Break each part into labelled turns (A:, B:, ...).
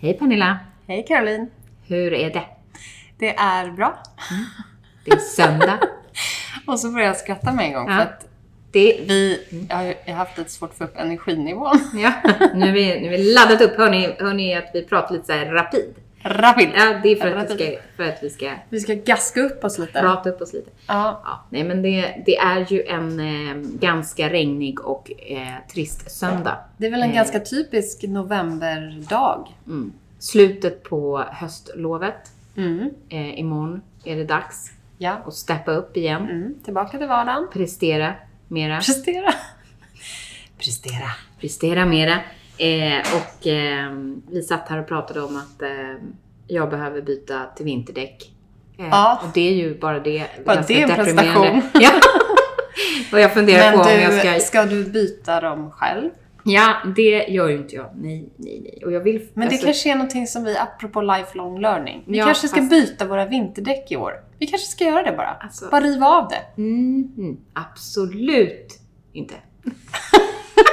A: Hej Pernilla!
B: Hej Caroline!
A: Hur är det?
B: Det är bra.
A: Det är söndag.
B: Och så börjar jag skratta med en gång.
A: Ja.
B: För att
A: Det är...
B: vi jag har ju- jag har haft lite svårt att få upp energinivån.
A: Ja, nu är vi, nu är vi laddat upp. Hör ni, hör ni att vi pratar lite så här rapid?
B: Rapid!
A: Ja, det är för att vi ska, för att vi ska
B: Vi ska gaska upp oss lite.
A: prata upp oss lite.
B: Ja.
A: Ja, nej, men det, det är ju en eh, ganska regnig och eh, trist söndag.
B: Det är väl en
A: Eh.
B: ganska typisk novemberdag.
A: Mm. Slutet på höstlovet.
B: Mm.
A: Eh, imorgon är det dags
B: Ja.
A: att steppa upp igen.
B: Mm. Tillbaka till vardagen.
A: Prestera mera.
B: Prestera! Prestera!
A: Prestera mera. Eh, och eh, vi satt här och pratade om att eh, jag behöver byta till vinterdäck. Eh,
B: Ja.
A: Och det är ju bara det.
B: Bara
A: ganska
B: det är en
A: deprimerande. Ja. och jag funderar
B: Men
A: på om jag
B: du,
A: ska
B: ska du byta dem själv?
A: Ja, det gör ju inte jag. Nej, nej, nej. Och jag vill...
B: Men det
A: alltså,
B: kanske är någonting som vi, apropå lifelong learning, vi
A: Ja,
B: kanske ska
A: fast-
B: byta våra vinterdäck i år. Vi kanske ska göra det bara.
A: Alltså-
B: Bara riva av det.
A: Mm, mm, absolut inte.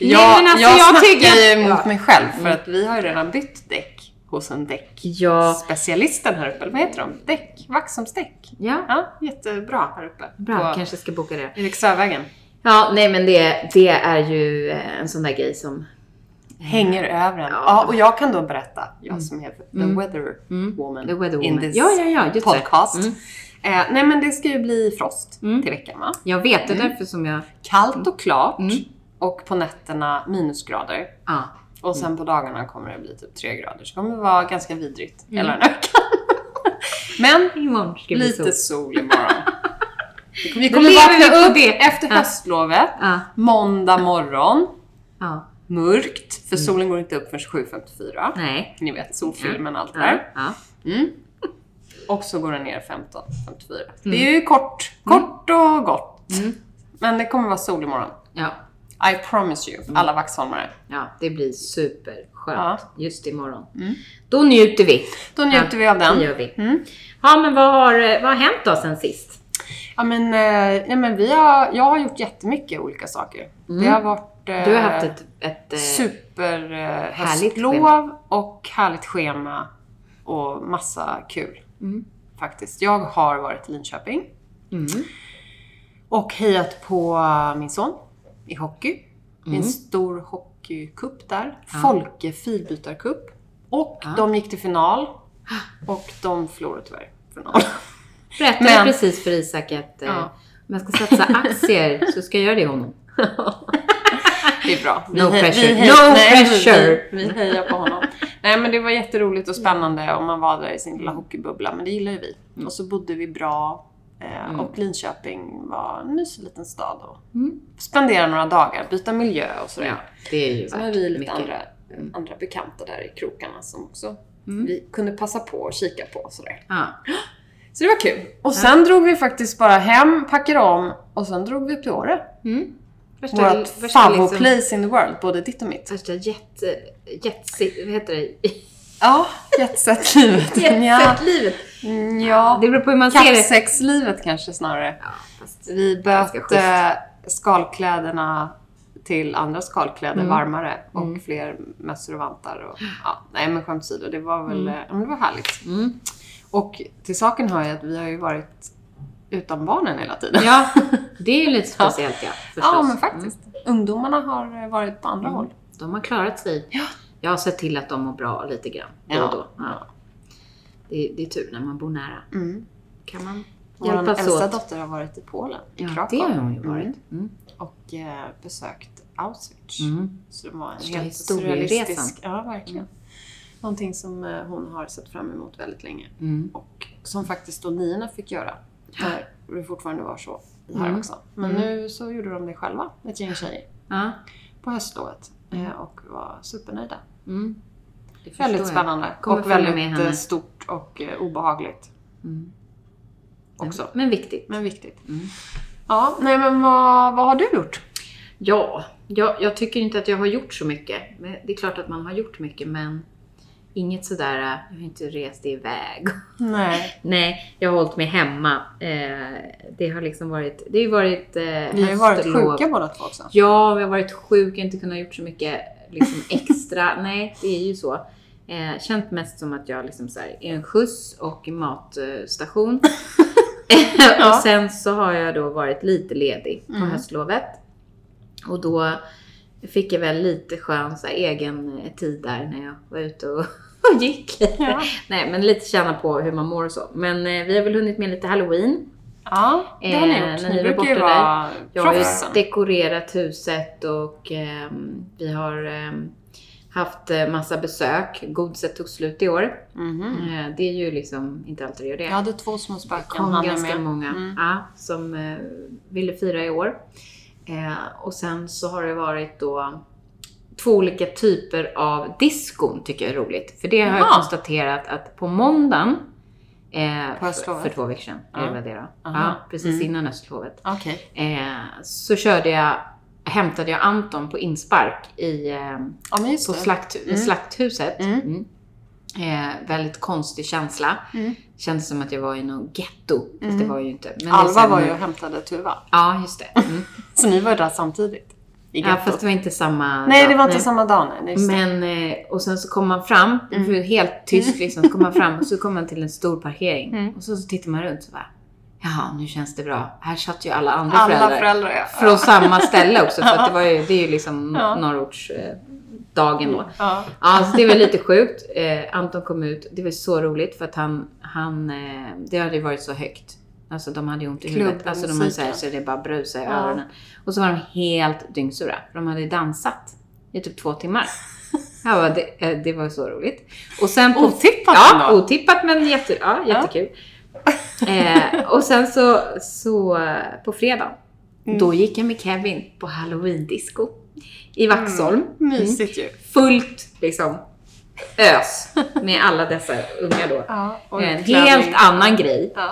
B: Ja,
A: men alltså,
B: jag,
A: jag
B: snackar
A: tycker-
B: ju emot
A: Ja.
B: mig själv för
A: Mm.
B: att vi har ju redan bytt däck hos en
A: Ja,
B: däckspecialisten här uppe. Eller vad heter de? Däck? Vaxholmsdäck?
A: ja.
B: Ja, jättebra här uppe.
A: Bra,
B: på
A: kanske ska boka det.
B: Eriksövägen.
A: Ja, nej men det, det är ju eh, en sån där grej som...
B: Hänger över en.
A: Ja.
B: Ja. och jag kan då berätta, jag som är the
A: Mm.
B: weather
A: Mm.
B: woman
A: The weather
B: in
A: woman.
B: this
A: Ja, ja, ja, just det.
B: podcast.
A: Mm.
B: Eh, nej men det ska ju bli frost
A: Mm.
B: till veckan va?
A: Jag vet, det är därför som jag...
B: Kallt och klart
A: Mm.
B: och på nätterna minusgrader.
A: Ja.
B: Och
A: Mm.
B: sen på dagarna kommer det bli typ tre grader. Så det kommer vara ganska vidrigt hela den här veckan. Men
A: Imorgon ska Mm. det bli
B: lite
A: sol.
B: sol imorgon. Vi
A: Då
B: kommer
A: lever vi
B: vakna
A: på
B: upp
A: det.
B: efter
A: Ja.
B: höstlovet.
A: Ja,
B: Måndag morgon.
A: ja.
B: Mörkt, för solen går inte upp förrän 7.54.
A: Mm. Nej.
B: Ni vet, solfilmen och allt det
A: Ja,
B: där.
A: ja.
B: Mm. Och så går den ner 15.54. Det är ju kort. Kort och gott.
A: Mm.
B: Men det kommer vara sol imorgon.
A: ja.
B: I promise
A: Mm.
B: you, alla Vaxholmare.
A: Ja, det blir superskönt
B: Ja.
A: just imorgon. Då njuter vi.
B: Då njuter vi av den.
A: Det gör vi.
B: Mm.
A: Ja, men vad har, eh, vad har hänt då sen sist?
B: Ja, men, eh, nej, men vi har, jag har gjort jättemycket olika saker. Det har varit eh,
A: Mm. Du har haft ett, ett eh,
B: super eh,
A: härligt
B: höstlov och härligt schema och massa kul.
A: Mm.
B: Faktiskt. Jag har varit i Linköping
A: mm,
B: och hejat på min son i hockey. Det är
A: Mm.
B: en stor hockeycup där. Folke filbytarcup. Och
A: Ja.
B: de gick till final och de förlorade tyvärr finalen.
A: berättade
B: Men-
A: precis för Isak att eh,
B: Ja.
A: om jag ska satsa aktier så ska jag göra det i honom.
B: Det är bra.
A: No
B: hej-
A: pressure.
B: hej-
A: No
B: nej,
A: pressure.
B: Vi, vi hejar på honom. Nej men det var jätteroligt och spännande och man var där i sin lilla hockeybubbla, men det gillar ju vi.
A: Mm.
B: Och så bodde vi bra eh, och Linköping var en mysig liten stad. Och
A: Mm.
B: Spendera några dagar, byta miljö och sådär.
A: Ja, det är ju
B: Så har
A: värt
B: vi lite
A: mycket.
B: andra, andra bekanta där i krokarna som också
A: Mm.
B: vi kunde passa på och kika på och sådär.
A: Ja.
B: Så det var kul. Och sen drog vi faktiskt bara hem, packade om och sen drog vi till Åre.
A: Mm. Värsta,
B: Vårt
A: värsta,
B: favoritplace
A: liksom,
B: place in the world, både ditt och mitt.
A: värsta jet, jet, vad heter det?
B: Ja, jetset-livet. Ja,
A: Jetset-livet.
B: ja.
A: Det beror på hur man ser det.
B: kappsexlivet kanske snarare.
A: Ja, fast,
B: Vi
A: Ganska
B: böt eh, skalkläderna till andra skalkläder
A: Mm.
B: varmare och fler mössor och vantar. Och, ja, nej men skämt åsido, det var väl eh, ja, men det var härligt.
A: mm.
B: Och till saken hör ju att vi har ju varit utan barnen hela tiden.
A: Ja, det är ju lite speciellt ja. förstås. Mm.
B: Ja, men faktiskt. Ungdomarna har eh, varit på andra håll.
A: De har klarat sig.
B: Ja.
A: Jag har sett till att de mår bra lite grann. Då och då. Ja. Det, det är tur när man bor nära.
B: Mm.
A: Kan man
B: Vår
A: hjälpas
B: äldsta
A: åt?
B: dotter har varit i Polen, i
A: Ja, det
B: Krakow.
A: har hon ju varit.
B: Mm.
A: Mm.
B: Och eh, besökt Auschwitz.
A: Mm.
B: Så det var en
A: Första
B: helt
A: historieresan. Mm.
B: surrealistisk... Ja, verkligen. Någonting som eh, hon har sett fram emot väldigt länge.
A: Mm.
B: Och som faktiskt då niorna fick göra. När det fortfarande var så här
A: Mm.
B: också. Men
A: Mm.
B: nu så gjorde de det själva, ett gäng tjejer,
A: Ja.
B: på höstlovet. eh, Och var supernöjda.
A: Mm.
B: Det
A: förstår
B: väldigt
A: Mm. jag.
B: spännande.
A: Kommer
B: och
A: följa
B: väldigt
A: med henne.
B: eh, stort och eh, obehagligt
A: Mm.
B: också.
A: Men viktigt.
B: Men viktigt.
A: Mm.
B: Ja, nej men vad, vad har du gjort?
A: Ja, jag, jag tycker inte att jag har gjort så mycket. Men det är klart att man har gjort mycket, men inget sådär, äh, jag har inte rest iväg.
B: Nej,
A: Nej, jag har hållit mig hemma. Eh, det har liksom varit, det har ju varit eh,
B: vi har ju varit
A: höstlov.
B: sjuka båda två också.
A: Ja, vi har varit sjuka, inte kunnat gjort så mycket liksom, extra. Nej, det är ju så. Eh, känt mest som att jag liksom så här, är en skjuts och i matstation. Eh,
B: Ja.
A: och sen så har jag då varit lite ledig på
B: Mm.
A: höstlovet. Och då fick jag väl lite skön så här, egen eh, tid där när jag var ute och, och gick.
B: Ja.
A: Nej, men lite känna på hur man mår och så. Men eh, vi har väl hunnit med lite halloween.
B: Ja, det har ni
A: Eh,
B: gjort.
A: när
B: Ni,
A: ni var
B: brukar ju
A: borta
B: vara
A: Jag har ju
B: proffsen.
A: dekorerat huset och ehm, vi har ehm, haft eh, massa besök. Godiset tog slut i år.
B: Mhm.
A: Eh, det är ju liksom inte alltid det gör det.
B: Jag hade två små
A: det
B: spöken.
A: kom
B: han är
A: ganska
B: med.
A: många
B: Mm.
A: ja, som eh, ville fira i år. Eh, och sen så har det varit då två olika typer av diskon tycker jag är roligt. För det har jag
B: Jaha.
A: konstaterat att på måndagen eh,
B: På höstlovet?
A: för, för två veckor sedan,
B: Ja.
A: är det väl det då?
B: Aha.
A: Ja, precis
B: Mm.
A: innan höstlovet.
B: Okej.
A: Eh, så körde jag, hämtade jag Anton på inspark i, eh,
B: Ja, men just
A: på
B: det.
A: slakt,
B: Mm.
A: Slakthuset.
B: Mm.
A: Mm. Eh, väldigt konstig känsla.
B: Mm.
A: Kändes som att jag var i något getto. Fast det
B: Mm.
A: var jag ju inte. Men
B: Alva
A: sen-
B: var ju och hämtade Tuva.
A: Ja, just det. Mm.
B: Så ni var ju där samtidigt. I
A: ja,
B: gettot.
A: fast det var inte samma
B: Nej, det
A: dag.
B: var inte samma dag. Nej, nej, just det. Mm.
A: Men, eh, och sen så kom man fram, det var helt tyst liksom, så kom man fram och så kom man till en stor parkering.
B: Mm.
A: Och så, så tittar man runt så bara, jaha nu känns det bra. Här satt ju alla andra
B: Alla
A: föräldrar.
B: föräldrar, ja.
A: från samma ställe också. För att det, var ju, det är ju liksom
B: Ja.
A: norrortsdagen då.
B: Ja.
A: Ja, så det var lite sjukt. Eh, Anton kom ut. Det var så roligt för att han, han eh, det hade ju varit så högt. Alltså de hade ju ont i huvudet. Alltså de hade så, här, så det bara brusade i
B: Ja.
A: öronen. Och så var de helt dyngsura. för De hade dansat i typ två timmar. Ja, va, det, eh, det var så roligt. Och sen på...
B: Otippat
A: Ja,
B: ändå.
A: otippat men jätte, ja,
B: Ja.
A: jättekul. Eh, och sen så, så eh, på fredag
B: Mm.
A: då gick jag med Kevin på halloween-disco i Vaxholm.
B: Mm. Mysigt ju.
A: Mm. Fullt liksom ös med alla dessa unga då. Eh,
B: Ja, och
A: en
B: klänning.
A: helt annan grej.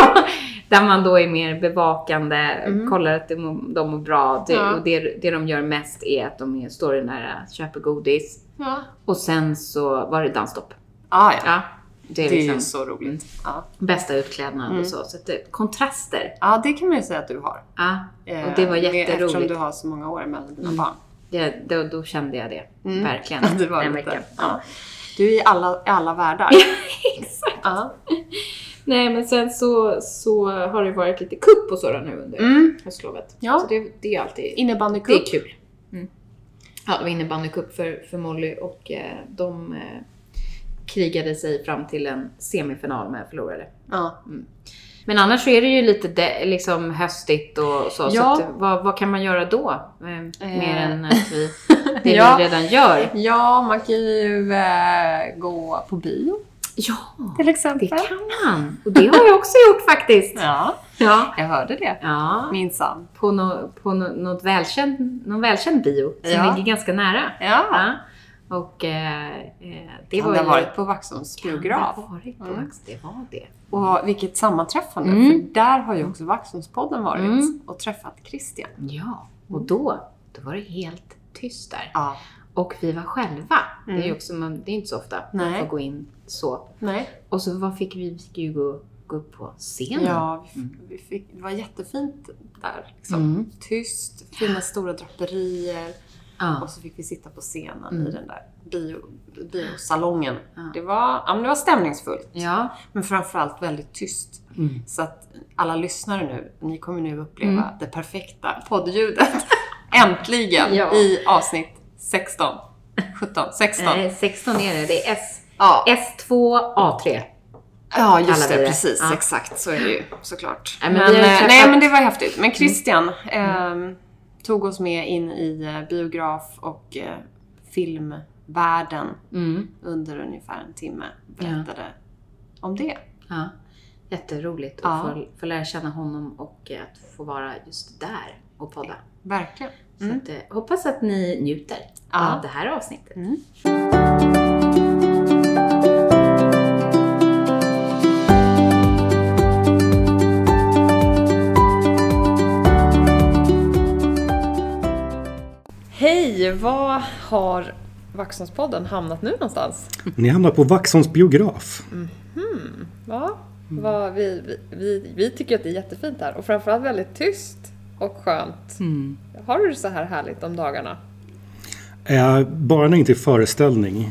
B: Ja.
A: Där man då är mer bevakande,
B: Mm.
A: kollar att de, mår- de mår bra. Det,
B: Ja.
A: och det, det de gör mest är att de är- står i nära, köper godis.
B: Ja.
A: Och sen så var det dansstopp.
B: Ah, ja.
A: Ja, det är
B: Det är
A: liksom
B: ju så roligt. Ja.
A: bästa utklädnad
B: Mm.
A: och så. Så att det, kontraster.
B: ja, det kan man ju säga att du har.
A: Ja,
B: Eh,
A: och det var
B: med- Eftersom
A: jätteroligt.
B: du har så många år mellan dina
A: Mm.
B: barn.
A: Det, då, då kände jag det.
B: Mm.
A: Verkligen.
B: Det var
A: Den
B: lite.
A: veckan.
B: Ja. Du är i alla, i alla världar.
A: Exakt.
B: Ja.
A: Nej, men sen så, så har det varit lite kupp och sådär nu under
B: Mm.
A: höstlovet.
B: Ja.
A: Så det, det är alltid det
B: Innebandycup.
A: är kul. Mm. Ja, det var innebandycup för, för Molly och eh, de eh, krigade sig fram till en semifinal men förlorade.
B: Ja.
A: Men annars så är det ju lite de, liksom höstigt och så. så
B: Ja.
A: att, vad, vad kan man göra då? Eh, mer
B: Eh.
A: än att vi, det
B: Ja.
A: vi redan gör.
B: ja, man kan ju eh, gå på bio
A: Ja,
B: till exempel.
A: det kan man. Och det har jag också gjort faktiskt.
B: Ja,
A: Ja.
B: jag hörde det.
A: Ja,
B: Minsann.
A: på, nå på nå något välkänd, någon välkänd bio som
B: Ja.
A: ligger ganska nära.
B: Ja.
A: Ja. Och eh, eh, det
B: Det
A: var
B: kan det ha
A: ju-
B: varit på Vaxholms
A: Kan det
B: biograf.
A: ha varit på
B: Mm.
A: Vax? Det var det.
B: Och vilket sammanträffande.
A: Mm.
B: För där har ju också Vaxholmspodden varit
A: Mm.
B: och träffat Christian.
A: Ja, och då, då var det helt tyst där.
B: Ja.
A: Och vi var själva. Det är ju
B: Mm.
A: också, man, det är inte så ofta man
B: Nej.
A: får gå in så.
B: Nej.
A: Och så vad fick vi? Vi fick ju gå, gå upp på scenen.
B: Ja, vi,
A: Mm.
B: vi fick, det var jättefint där. Liksom.
A: Mm.
B: Tyst, fina stora draperier.
A: Ja.
B: Och så fick vi sitta på scenen
A: Mm.
B: i den där bio, biosalongen.
A: Ja.
B: Det, var, ja, men det var stämningsfullt.
A: ja.
B: Men framförallt väldigt tyst.
A: Mm.
B: Så att alla lyssnare nu, ni kommer nu uppleva
A: Mm.
B: det perfekta poddljudet. Äntligen!
A: Ja.
B: I avsnitt 16. 17, 16.
A: Nej, 16 Eh, är det. Det är S,
B: Ja,
A: S2A3.
B: ja just
A: kallar vi
B: det.
A: det.
B: Precis.
A: Ja.
B: Exakt, så är det ju såklart.
A: Nej,
B: men
A: men vi har ju
B: eh,
A: träffat- Mm.
B: nej, men det var häftigt. Men Christian ehm, tog oss med in i eh, biograf och eh, filmvärlden
A: Mm.
B: under ungefär en timme. Berättade om det.
A: Ja. Jätteroligt att
B: Ja.
A: få, få lära känna honom och eh, att få vara just där och podda.
B: Verkligen.
A: Mm. Så att, eh, hoppas att ni njuter
B: Ja.
A: av det här avsnittet.
B: Mm. Hej! Vad har Vaxholmspodden hamnat nu någonstans?
C: Ni hamnar på Vaxholms biograf.
B: Ja, vad, vi, vi, vi, vi tycker att det är jättefint här och framförallt väldigt tyst och skönt. Har du det så här härligt om dagarna?
C: Eh, bara när det inte är föreställning.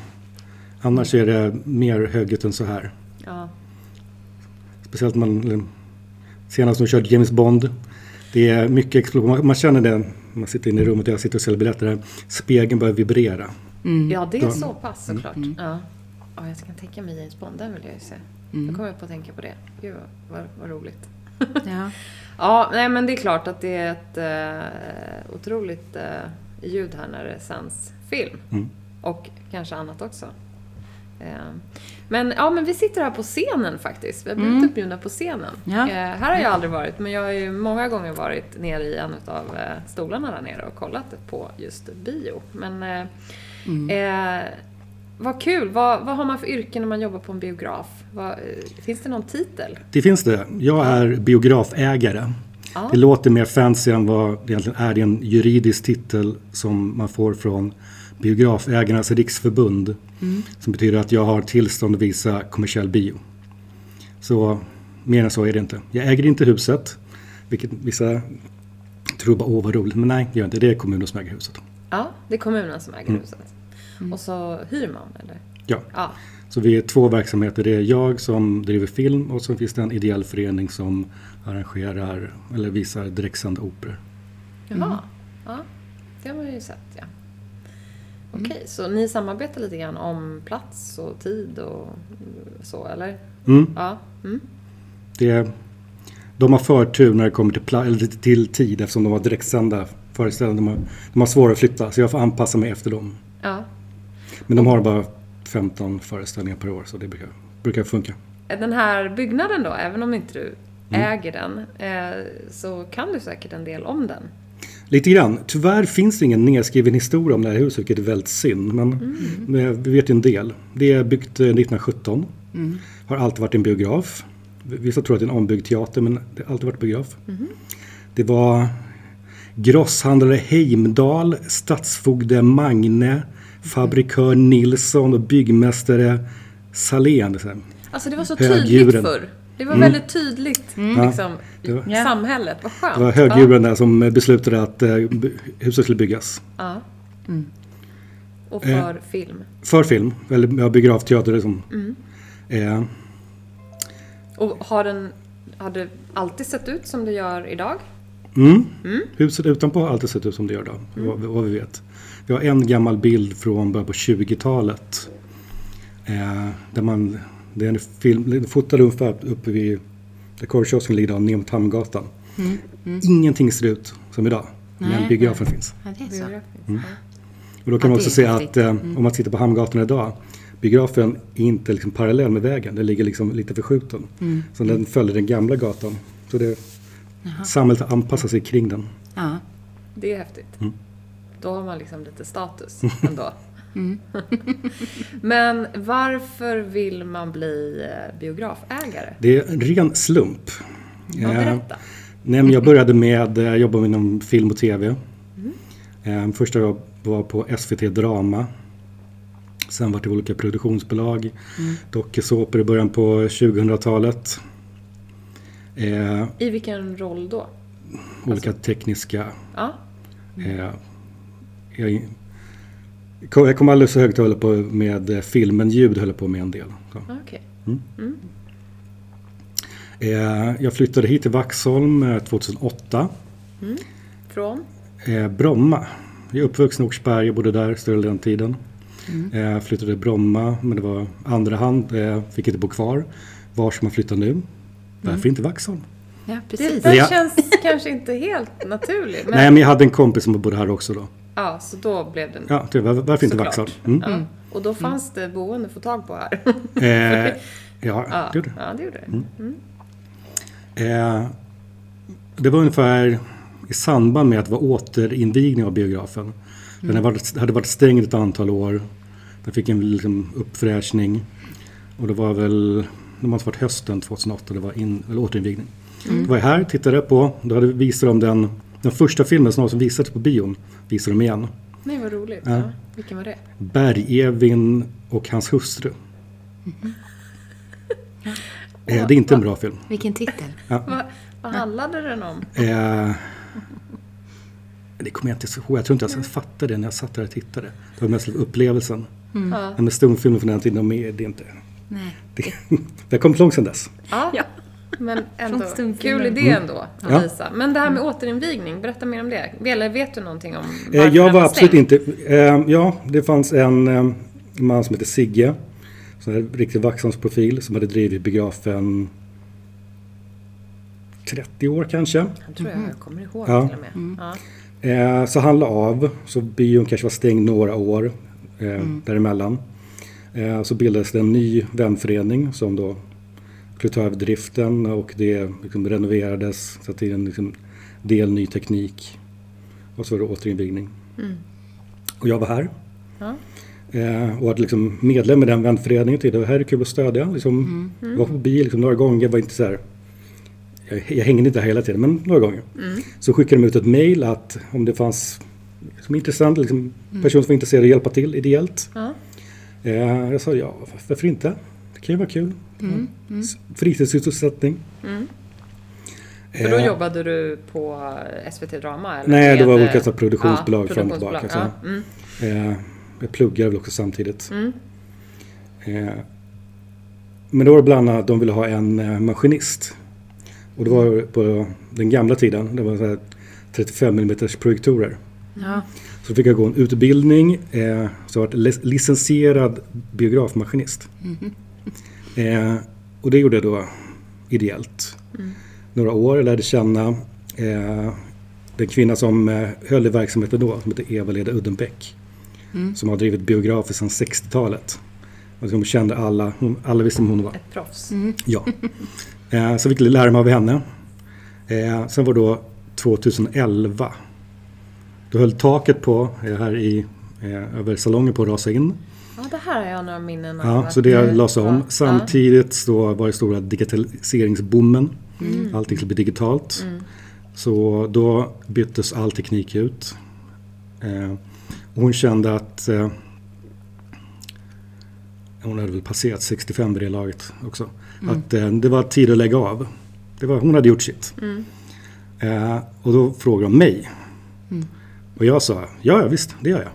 C: Annars är det mer högljutt än så här.
B: Ja.
C: Speciellt man eller, senast de körde James Bond. Det är mycket explosion. Man, man känner det när man sitter inne i rummet och jag sitter och säljer biljetter. här. Spegeln börjar vibrera.
B: Ja, det är så pass såklart. Ja. ja, jag kan tänka mig James Bond, den vill jag ju se. Nu kommer jag på att tänka på det. Gud, vad, vad, vad roligt.
D: Ja.
B: Ja, nej men det är klart att det är ett eh, otroligt eh, ljud här när det sänds film.
D: Mm.
B: Och kanske annat också. Eh, men, ja, men vi sitter här på scenen faktiskt. Vi har blivit uppbjudna på scenen.
D: Mm. Ja.
B: Eh, här har jag aldrig varit, men jag har ju många gånger varit nere i en av eh, stolarna där nere och kollat på just bio. Men eh,
D: Mm.
B: eh, vad kul! Vad, vad har man för yrke när man jobbar på en biograf? Vad, eh, finns det någon titel?
C: Det finns det. Jag är biografägare.
B: Ja.
C: Det låter mer fancy än vad det egentligen är. Det är en juridisk titel som man får från Biografägarnas riksförbund. Som betyder att jag har tillstånd att visa kommersiell bio. Så mer än så är det inte. Jag äger inte huset. Vilket vissa tror bara åh vad roligt. Men nej, det gör jag inte. Det är kommunen som äger huset.
B: Ja, det är kommunen som
C: Mm.
B: äger huset. Och så hyr man eller?
C: Ja.
B: Ja.
C: Så vi är två verksamheter. Det är jag som driver film och så finns det en ideell förening som arrangerar eller visar direktsända operor.
B: Jaha. Ja, det har man ju sett ja. Okej, så ni samarbetar lite grann om plats och tid och så eller?
C: Mm.
B: Ja. Mm.
C: Det, de har förtur när det kommer till, pla- eller till tid eftersom de har direktsända föreställningar. De har, de har svårare att flytta så jag får anpassa mig efter dem.
B: ja.
C: Men de har bara 15 föreställningar per år så det brukar, brukar funka.
B: Den här byggnaden då, även om inte du
C: Mm.
B: äger den, eh, så kan du säkert en del om den.
C: Lite grann. Tyvärr finns det ingen nedskriven historia om det här huset vilket är väldigt synd. Men men vi vet ju en del. Det är byggt eh, 1917. Har alltid varit en biograf. Vissa tror att det är en ombyggd teater men det har alltid varit biograf. Det var grosshandlare Heimdal, stadsfogde Magne, fabrikör Nilsson och byggmästare Salén.
B: Alltså det var så
C: Högdjuren.
B: tydligt
C: Mm.
B: förr. Det var väldigt tydligt liksom,
C: Det var-
B: i samhället. Vad skönt.
C: Det var högdjuren där som beslutade att eh, b- huset skulle byggas.
B: Ja. Och för
C: Eh.
B: film.
C: För film, eller ja, biografteater. Liksom. Eh,
B: Och har den har det alltid sett ut som det gör idag?
C: Mm. Huset utanpå har alltid sett ut som det gör idag, vad, vad vi vet. Vi har en gammal bild från början på 20-talet. Eh, där man, det är en film, det är fotad ungefär uppe vid, där korvkiosken ligger idag, ner mot Hamngatan. Ingenting ser ut som idag, men biografen finns.
D: Ja, det är så.
C: Mm. Och då
D: Ja,
C: kan man
D: det
C: också
D: är
C: se
D: häftigt. Mm.
C: att eh, om man tittar på Hamngatan idag, biografen är inte liksom parallell med vägen, den ligger liksom lite förskjuten.
D: Mm.
C: Så den följer den gamla gatan. Så det, samhället har anpassat sig kring den.
D: Ja.
B: Det är häftigt.
C: Mm.
B: Då har man liksom lite status ändå. Men varför vill man bli eh, biografägare?
C: Det är en ren slump.
B: Ja,
C: Eh,
B: berätta.
C: nej, men jag började med att jobba inom film och tv.
D: Mm.
C: Eh, första jobb var på SVT Drama. Sen var det olika produktionsbolag.
D: Mm.
C: Dokusåpor i början på 2000-talet. Eh,
B: I vilken roll då? Alltså-
C: olika tekniska...
B: Ja,
C: Eh, jag, jag kom alldeles så högt och höll på med eh, film, men ljud höll jag på med en del. Så.
B: okej.
C: Eh, jag flyttade hit till Vaxholm eh, 2008.
B: Från?
C: Eh, Bromma. Jag är uppvuxen i Åkersberga, jag bodde där större delen av tiden.
B: Mm.
C: Eh, flyttade till Bromma, men det var andra hand. Eh, fick inte bo kvar. Var ska man flytta nu? Varför
B: Mm.
C: inte Vaxholm?
D: ja,
B: Det
D: precis.
B: där
C: Ja.
B: känns kanske inte helt naturligt. Men,
C: Nej, men jag hade en kompis som bodde här också då.
B: Ja, så då blev det
C: Ja, det var, varför inte
B: Såklart.
C: Vaxholm? Mm.
B: Ja. Och då fanns det boende att få tag på här.
C: Eh, ja,
B: ja,
C: det gjorde Mm.
B: ja, det gjorde det.
C: Eh, det var ungefär i samband med att det var återinvigning av biografen. Den hade varit, hade varit stängd ett antal år. Den fick en liksom, uppfräschning. Och det var väl, det måste ha varit hösten 2008, det var in, eller återinvigning. Då var jag här, tittade på, då hade, visade de den, den första filmen som som visades på bion, visade de igen.
B: Nej, vad roligt.
C: Ja.
B: Ja. Vilken var det?
C: Berg-Evin och hans hustru. Eh, det är inte en bra film.
A: Vilken titel.
B: Vad, vad handlade den om?
C: Eh, det kommer jag inte så ihåg. Jag tror inte jag ens fattade det när jag satt där och tittade. Det var mest upplevelsen.
B: Ja.
C: Men med stumfilmer från den tiden, de är, det är inte...
A: Nej.
C: Det, det har kommit långt sedan dess. Eh,
B: Ja. Men ändå,
D: Från stumfilmen.
B: kul idé ändå att
C: Mm. Ja.
B: visa. Men det här med återinvigning, berätta mer om det. Eller vet du någonting om varför
C: Eh, jag
B: den
C: var absolut
B: stängd?
C: inte... Eh, ja, det fanns en eh, man som hette Sigge. Som är en riktig Vaxholmsprofil som hade drivit biografen 30 år kanske.
B: Jag tror jag, jag kommer ihåg
C: Mm-hmm. Ja.
B: till och med. Ja.
C: Eh, så han la av. Så bion kanske var stängd några år eh, däremellan. Eh, så bildades det en ny vänförening som då skulle ta över driften och det liksom renoverades. Så att det är en liksom del ny teknik. Och så var det återinvigning. Och jag var här.
B: Ja.
C: Eh, och var liksom medlem i den vänföreningen och tyckte det här är kul att stödja. Liksom, Jag var på bio liksom, några gånger, var inte så här, jag, jag hängde inte här hela tiden, men några gånger. Så skickade de ut ett mejl att om det fanns som intressant, liksom, personer som var intresserade att hjälpa till ideellt.
B: Ja.
C: Eh, jag sa ja, varför inte? Det kan ju vara kul. Mm. Fritidssysselsättning.
B: För då
C: Eh,
B: jobbade du på SVT Drama? Eller
C: Nej, det
B: med-
C: var olika så här produktionsbolag
B: ja,
C: fram och
B: produktionsbolag.
C: tillbaka, så.
B: Ja. Mm.
C: Eh, jag pluggar väl också samtidigt. Eh, men då var det bland annat att de ville ha en eh, maskinist. Och det var på den gamla tiden. Det var så här 35 mm projektorer.
A: Ja.
C: Så fick jag gå en utbildning. Eh, så jag varit lic- licensierad biografmaskinist. Eh, och det gjorde jag då ideellt. Några år. Jag lärde känna eh, den kvinna som eh, höll i verksamheten då, som heter Eva-Leda Uddenbäck. Som har drivit biografer sedan 60-talet. Och hon kände alla, hon, alla visste vem hon var.
B: Ett proffs.
C: Ja. Eh, så fick jag lära mig av henne. Eh, sen var det då 2011. Då höll taket på eh, här i eh, över salongen på att rasa in.
B: Ja, det här har jag några minnen av.
C: Ja,
B: att-
C: så det lades om.
B: Ja,
C: Samtidigt så var det stora digitaliseringsboomen.
B: Mm.
C: Allting skulle bli digitalt. Så då byttes all teknik ut. Eh, och hon kände att eh, hon hade väl passerat 65 vid det laget också.
B: Mm.
C: Att eh, det var tid att lägga av. Det var, hon hade gjort sitt.
B: Mm.
C: Eh, och då frågade de mig.
B: Mm.
C: Och jag sa, ja ja, visst, det gör jag.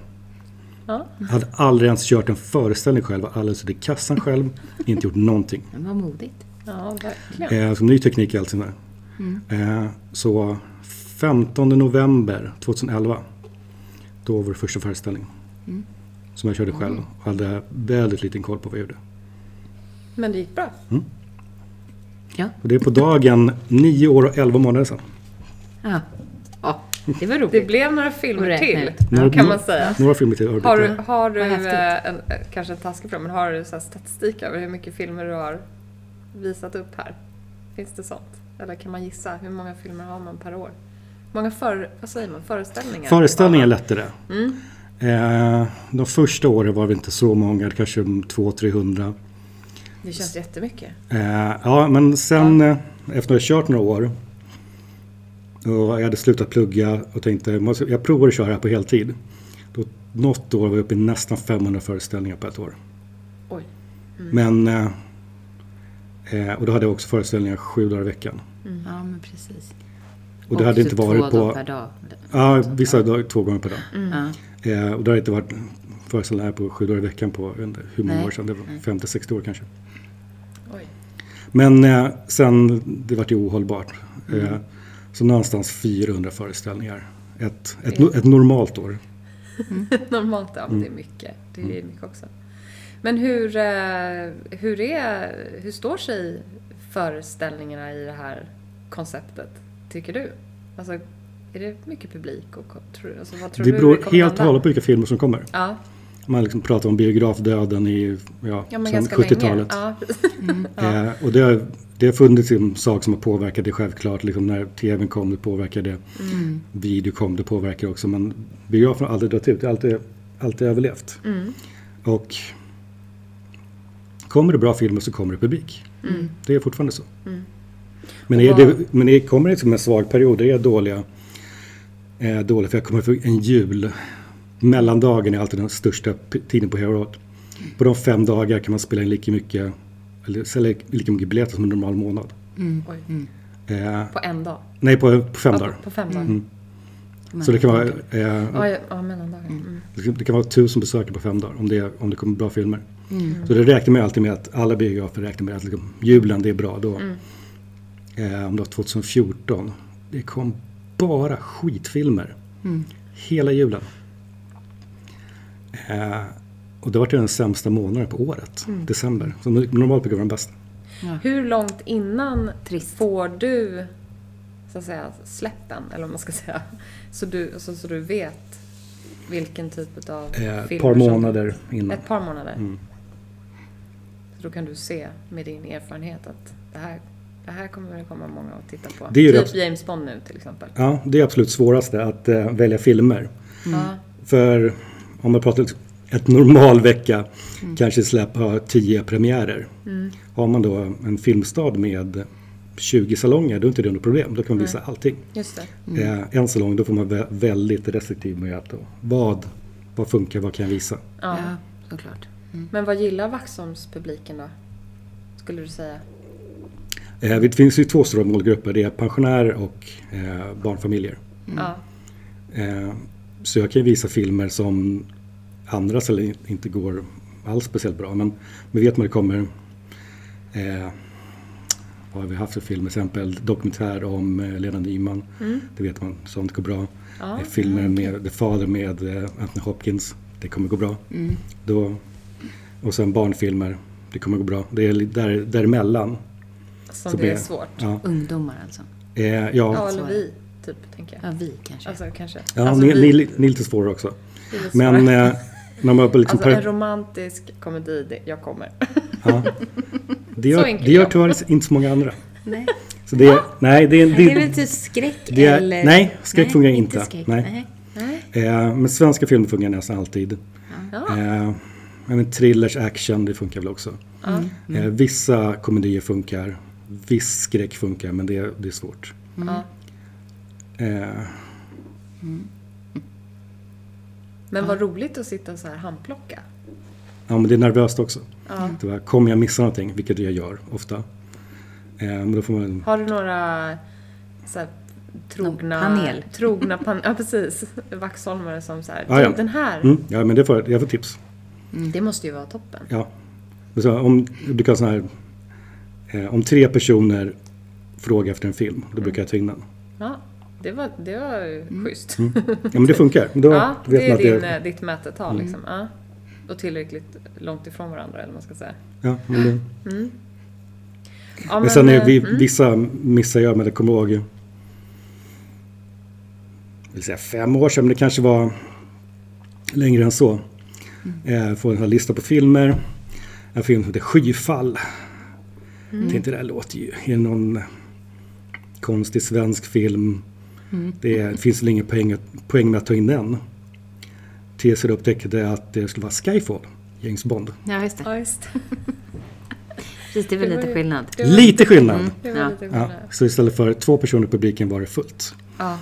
C: Jag hade aldrig ens kört en föreställning själv, var aldrig suttit i kassan själv, inte gjort någonting.
A: Det var modigt.
B: Ja, Mm. verkligen.
C: Eh, som ny teknik i allting där. Eh, så 15 november 2011, då var det första föreställningen.
B: Mm.
C: Som jag körde själv och hade väldigt liten koll på vad jag gjorde.
B: Men det gick bra.
C: Och det är på dagen 9 år och 11 månader sedan.
A: Ja. ja. Det var
B: Det
A: roligt.
B: blev några
A: Och
B: filmer till,
A: räknade.
B: kan man säga.
C: Några filmer till. har det
B: Har du,
C: blivit.
B: har du
A: Vad häftigt.
B: eh, en, eh, kanske en taskig fråga, men har du så här statistik över hur mycket filmer du har visat upp här? Finns det sånt? Eller kan man gissa? Hur många filmer har man per år? Många för, vad säger man, föreställningar?
C: Föreställningar är lättare.
B: Mm.
C: Eh, de första åren var det inte så många, kanske 200-300.
B: Det känns jättemycket.
C: Eh, ja, men sen eh, efter att jag kört några år och jag hade slutat plugga och tänkte "Man ska- jag provar att köra här på heltid. Då, något år var jag uppe i nästan 500 föreställningar på ett år.
B: Oj.
A: Mm.
C: Men, eh, eh, och då hade jag också föreställningar sju dagar i veckan.
A: Ja, men precis.
C: Och det hade
A: så
C: inte varit
A: två dagar
C: på...
A: per dag.
C: Ja, vissa dagar, två gånger per dag.
A: Ja.
C: Eh, och det har inte varit föreställningar på sju dagar i veckan på jag vet inte hur många
A: Nej.
C: år sedan, det var 50-60 år kanske.
B: Oj.
C: Men eh, sen, det vart ju ohållbart. Eh, så någonstans 400 föreställningar. Ett, ett, no- ett normalt år.
B: Normalt, ja. men Det är
C: Mm.
B: mycket. Det är mycket också. Men hur, eh, hur, är, hur står sig föreställningarna i det här konceptet, tycker du? Alltså, är det mycket publik? Och, ko- tror, alltså, vad tror
C: Det
B: du
C: beror
B: kommer
C: helt och
B: hända?
C: hållet på vilka filmer som kommer.
B: Ja,
C: Man liksom pratar om biografdöden i ja,
B: ja men
C: sen
B: ganska
C: 70-talet.
B: länge. Ja,
C: Eh, och det har, det har funnits en sak som har påverkat det självklart. Liksom när tvn kom, det påverkade det. Video kom, det påverkade också. Men biografen har aldrig dragit ut, det har alltid, alltid överlevt. Och kommer det bra filmer så kommer det publik. Det är fortfarande så. Men, är det, men är, kommer det som en svag period, det är dåliga, eh, dåliga för jag kommer få en jul Mellandagen är alltid den största p- tiden på hela året. På de fem dagar kan man spela in lika mycket, eller sälja lika mycket biljetter som en normal månad.
B: Oj.
C: Eh,
B: På en dag?
C: nej, på, på Mm. fem
B: Ja,
C: dagar.
B: På, på fem dagar?
C: Så det kan vara, eh,
B: Ja, ja, ja, mellandagar. Mm.
C: det kan- det kan vara tusen besökare på fem dagar om det, om det kommer bra filmer.
B: Mm.
C: Så det räknar man ju alltid med att alla biografer räknar med att liksom, julen, det är bra då.
B: Mm.
C: Eh, om det var 2014. Det kom bara skitfilmer.
B: Mm.
C: Hela julen. Eh, och det var till den sämsta månaden på året,
B: Mm.
C: december. Som normalt brukar vara den bästa.
B: Hur långt innan får du så att säga, släppen, eller vad man ska säga, så du, så, så du vet vilken typ av
C: Eh, ett
B: filmer
C: par
B: som-
C: månader Mm. innan.
B: Ett par månader? Så då kan du se med din erfarenhet att det här, det här kommer det komma många att titta på.
C: Det är ju
B: typ
C: det-
B: James Bond nu till exempel.
C: Ja, det är absolut svåraste att eh, välja filmer.
B: Ja.
C: För om man pratar ett normal vecka kanske släpp har 10 premiärer. Har man då en filmstad med 20 salonger, då är inte det något problem. Då kan man visa allting.
B: Just det.
C: Eh, en salong, då får man vara väldigt restriktiv med att då, vad, vad funkar, vad kan jag visa?
B: Ja.
A: Ja, såklart.
B: Men vad gillar Vaxholmspubliken då? Skulle du säga?
C: Eh, det finns ju två stora målgrupper, det är pensionärer och eh, barnfamiljer.
A: Mm.
B: Ja.
C: Eh, så jag kan ju visa filmer som andra sällan inte går alls speciellt bra. Men, men vet man det kommer... Eh, vad har vi haft för film? Till exempel dokumentär om eh, Lena Nyman. Det vet man, sånt går bra. Eh, filmer med The Father med eh, Anthony Hopkins. Det kommer gå bra. Då, och sen barnfilmer. Det kommer gå bra. Det är li- där, däremellan.
B: Som
C: som
B: det
C: är-
B: är svårt.
C: Ja,
A: Ungdomar alltså.
C: eh, ja,
B: Ja,
C: ja,
B: eller vi, typ, tänker jag.
A: Ja, vi kanske.
B: Alltså kanske.
C: ja
B: alltså,
C: ni,
B: vi-
C: ni, ni är lite svåra också.
B: vi är svåra.
C: Men eh, när man på liksom
B: Alltså
C: per-
B: en romantisk komedi, det, jag kommer.
C: Ja. Det
B: Så
C: gör,
B: enkel
C: det
B: är
C: gör
B: jag.
C: tyvärr inte så många andra.
A: Nej.
C: Så det, nej, det, är- det,
A: Det är väl typ skräck
C: det är-
A: eller?
C: nej, skräck fungerar inte.
A: skräck.
C: Nej. eh, men svenska filmer fungerar nästan alltid.
B: Ja.
C: Eh, men thrillers, action, det funkar väl också. Eh, vissa komedier funkar, viss skräck funkar, men det, det är svårt.
B: Ja.
C: Eh,
B: Men vad roligt att sitta så här handplocka.
C: ja, men det är nervöst också. Det var, kommer jag missa någonting, vilket jag gör ofta. Eh, men då får man,
B: Har du några så här, trogna...
A: Någon panel.
B: Trogna pan, ja, precis. Vaxholmare som så här,
C: Ja, ja.
B: "Du, den här,
C: mm, ja, men det får, jag får tips.
B: Mm, det måste ju vara toppen.
C: Ja. Men Så om, jag brukar ha sån här, eh, om tre personer frågar efter en film, då brukar jag ta in den.
B: Ja, det var, det var ju schysst.
C: Ja men det funkar. Då
B: Ja,
C: Mm. vet
B: det
C: man
B: är
C: att
B: din,
C: det, Mm.
B: eh, ditt mätetal liksom. Ja. Och tillräckligt långt ifrån varandra, eller vad man ska säga.
C: ja, men, det-
B: Ja,
C: men sen är
B: eh,
C: vi, vissa missar jag, men det kommer ihåg. Jag vill säga fem år sedan, men det kanske var längre än så.
B: Mm.
C: Eh, får en sån här lista på filmer. En film som heter Skyfall.
B: Mm.
C: Tänkte det här låter ju, är det någon konstig svensk film?
B: Mm.
C: Det, är, det finns väl ingen poäng, att- poäng med att ta in den. Tills jag upptäckte att det skulle vara Skyfall, James Bond.
A: Ja, just det.
B: Ja, just det.
A: Precis, det är väl
B: Det var
A: lite
B: ju-
A: skillnad.
B: det. var- Mm.
C: Lite skillnad!
B: Det var
A: Ja.
B: lite
C: Ja,
B: skillnad.
C: så istället för två personer i publiken var det fullt.
B: Ja.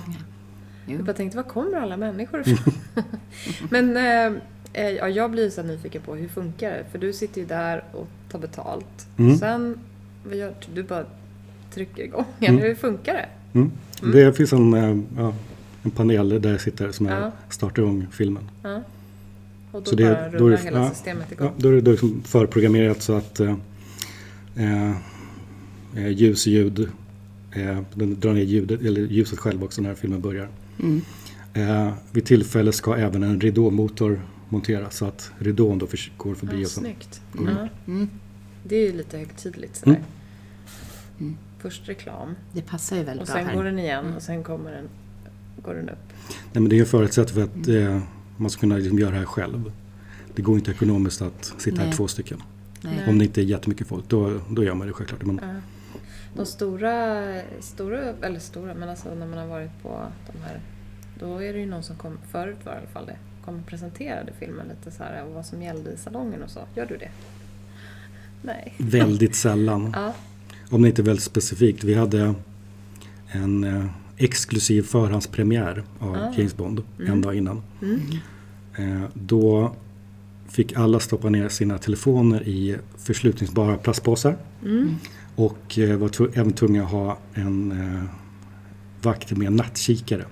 B: Jag bara tänkte, var kommer alla människor ifrån? Men eh, eh, ja, jag blir så här nyfiken på hur funkar det? För du sitter ju där och tar betalt.
C: Mm.
B: Sen, vad gör du? Du bara trycker igång. Eller Hur funkar det?
C: Mm. Det finns en, eh, ja, en panel där jag sitter som jag
B: Ja.
C: startar igång filmen.
B: Och då
C: Så det-
B: bara
C: då är
B: rullar
C: det-
B: hela
C: ja.
B: systemet igång.
C: Ja, då är det då liksom förprogrammerat så att eh, eh, eh, ljus och ljud, eh, den drar ner ljudet, eller ljuset själv också när filmen börjar. Eh, vid tillfälle ska även en ridåmotor monteras så att ridån då förs- går förbi
B: Ja,
C: och så. Mm.
B: snyggt. Ja. Mm. Det är ju lite högtidligt sådär.
C: Mm.
B: Först reklam
A: Det passar ju väldigt
B: och
A: bra
B: sen
A: här.
B: går den igen och sen kommer den, går den upp.
C: Nej, men det är en förutsättning för att eh, man ska kunna liksom göra det här själv. Det går inte ekonomiskt att sitta här
A: Nej.
C: två stycken.
A: Nej.
C: Om det inte är jättemycket folk, då, då gör man det självklart. Men,
B: De stora, stora, eller stora, men alltså när man har varit på de här, då är det ju någon som kom, förut var det i alla fall det, kom och presenterade filmen lite så här och vad som gällde i salongen och så. Gör du det? Nej.
C: Väldigt sällan.
B: Ja.
C: Om det inte är väldigt specifikt. Vi hade
B: Ah. Mm.
C: en eh, exklusiv förhandspremiär av James Bond en dag innan. Eh, Då fick alla stoppa ner sina telefoner i förslutningsbara plastpåsar.
B: Mm.
C: Och eh, var tv- även tvungna att ha en eh, vakt med nattkikare.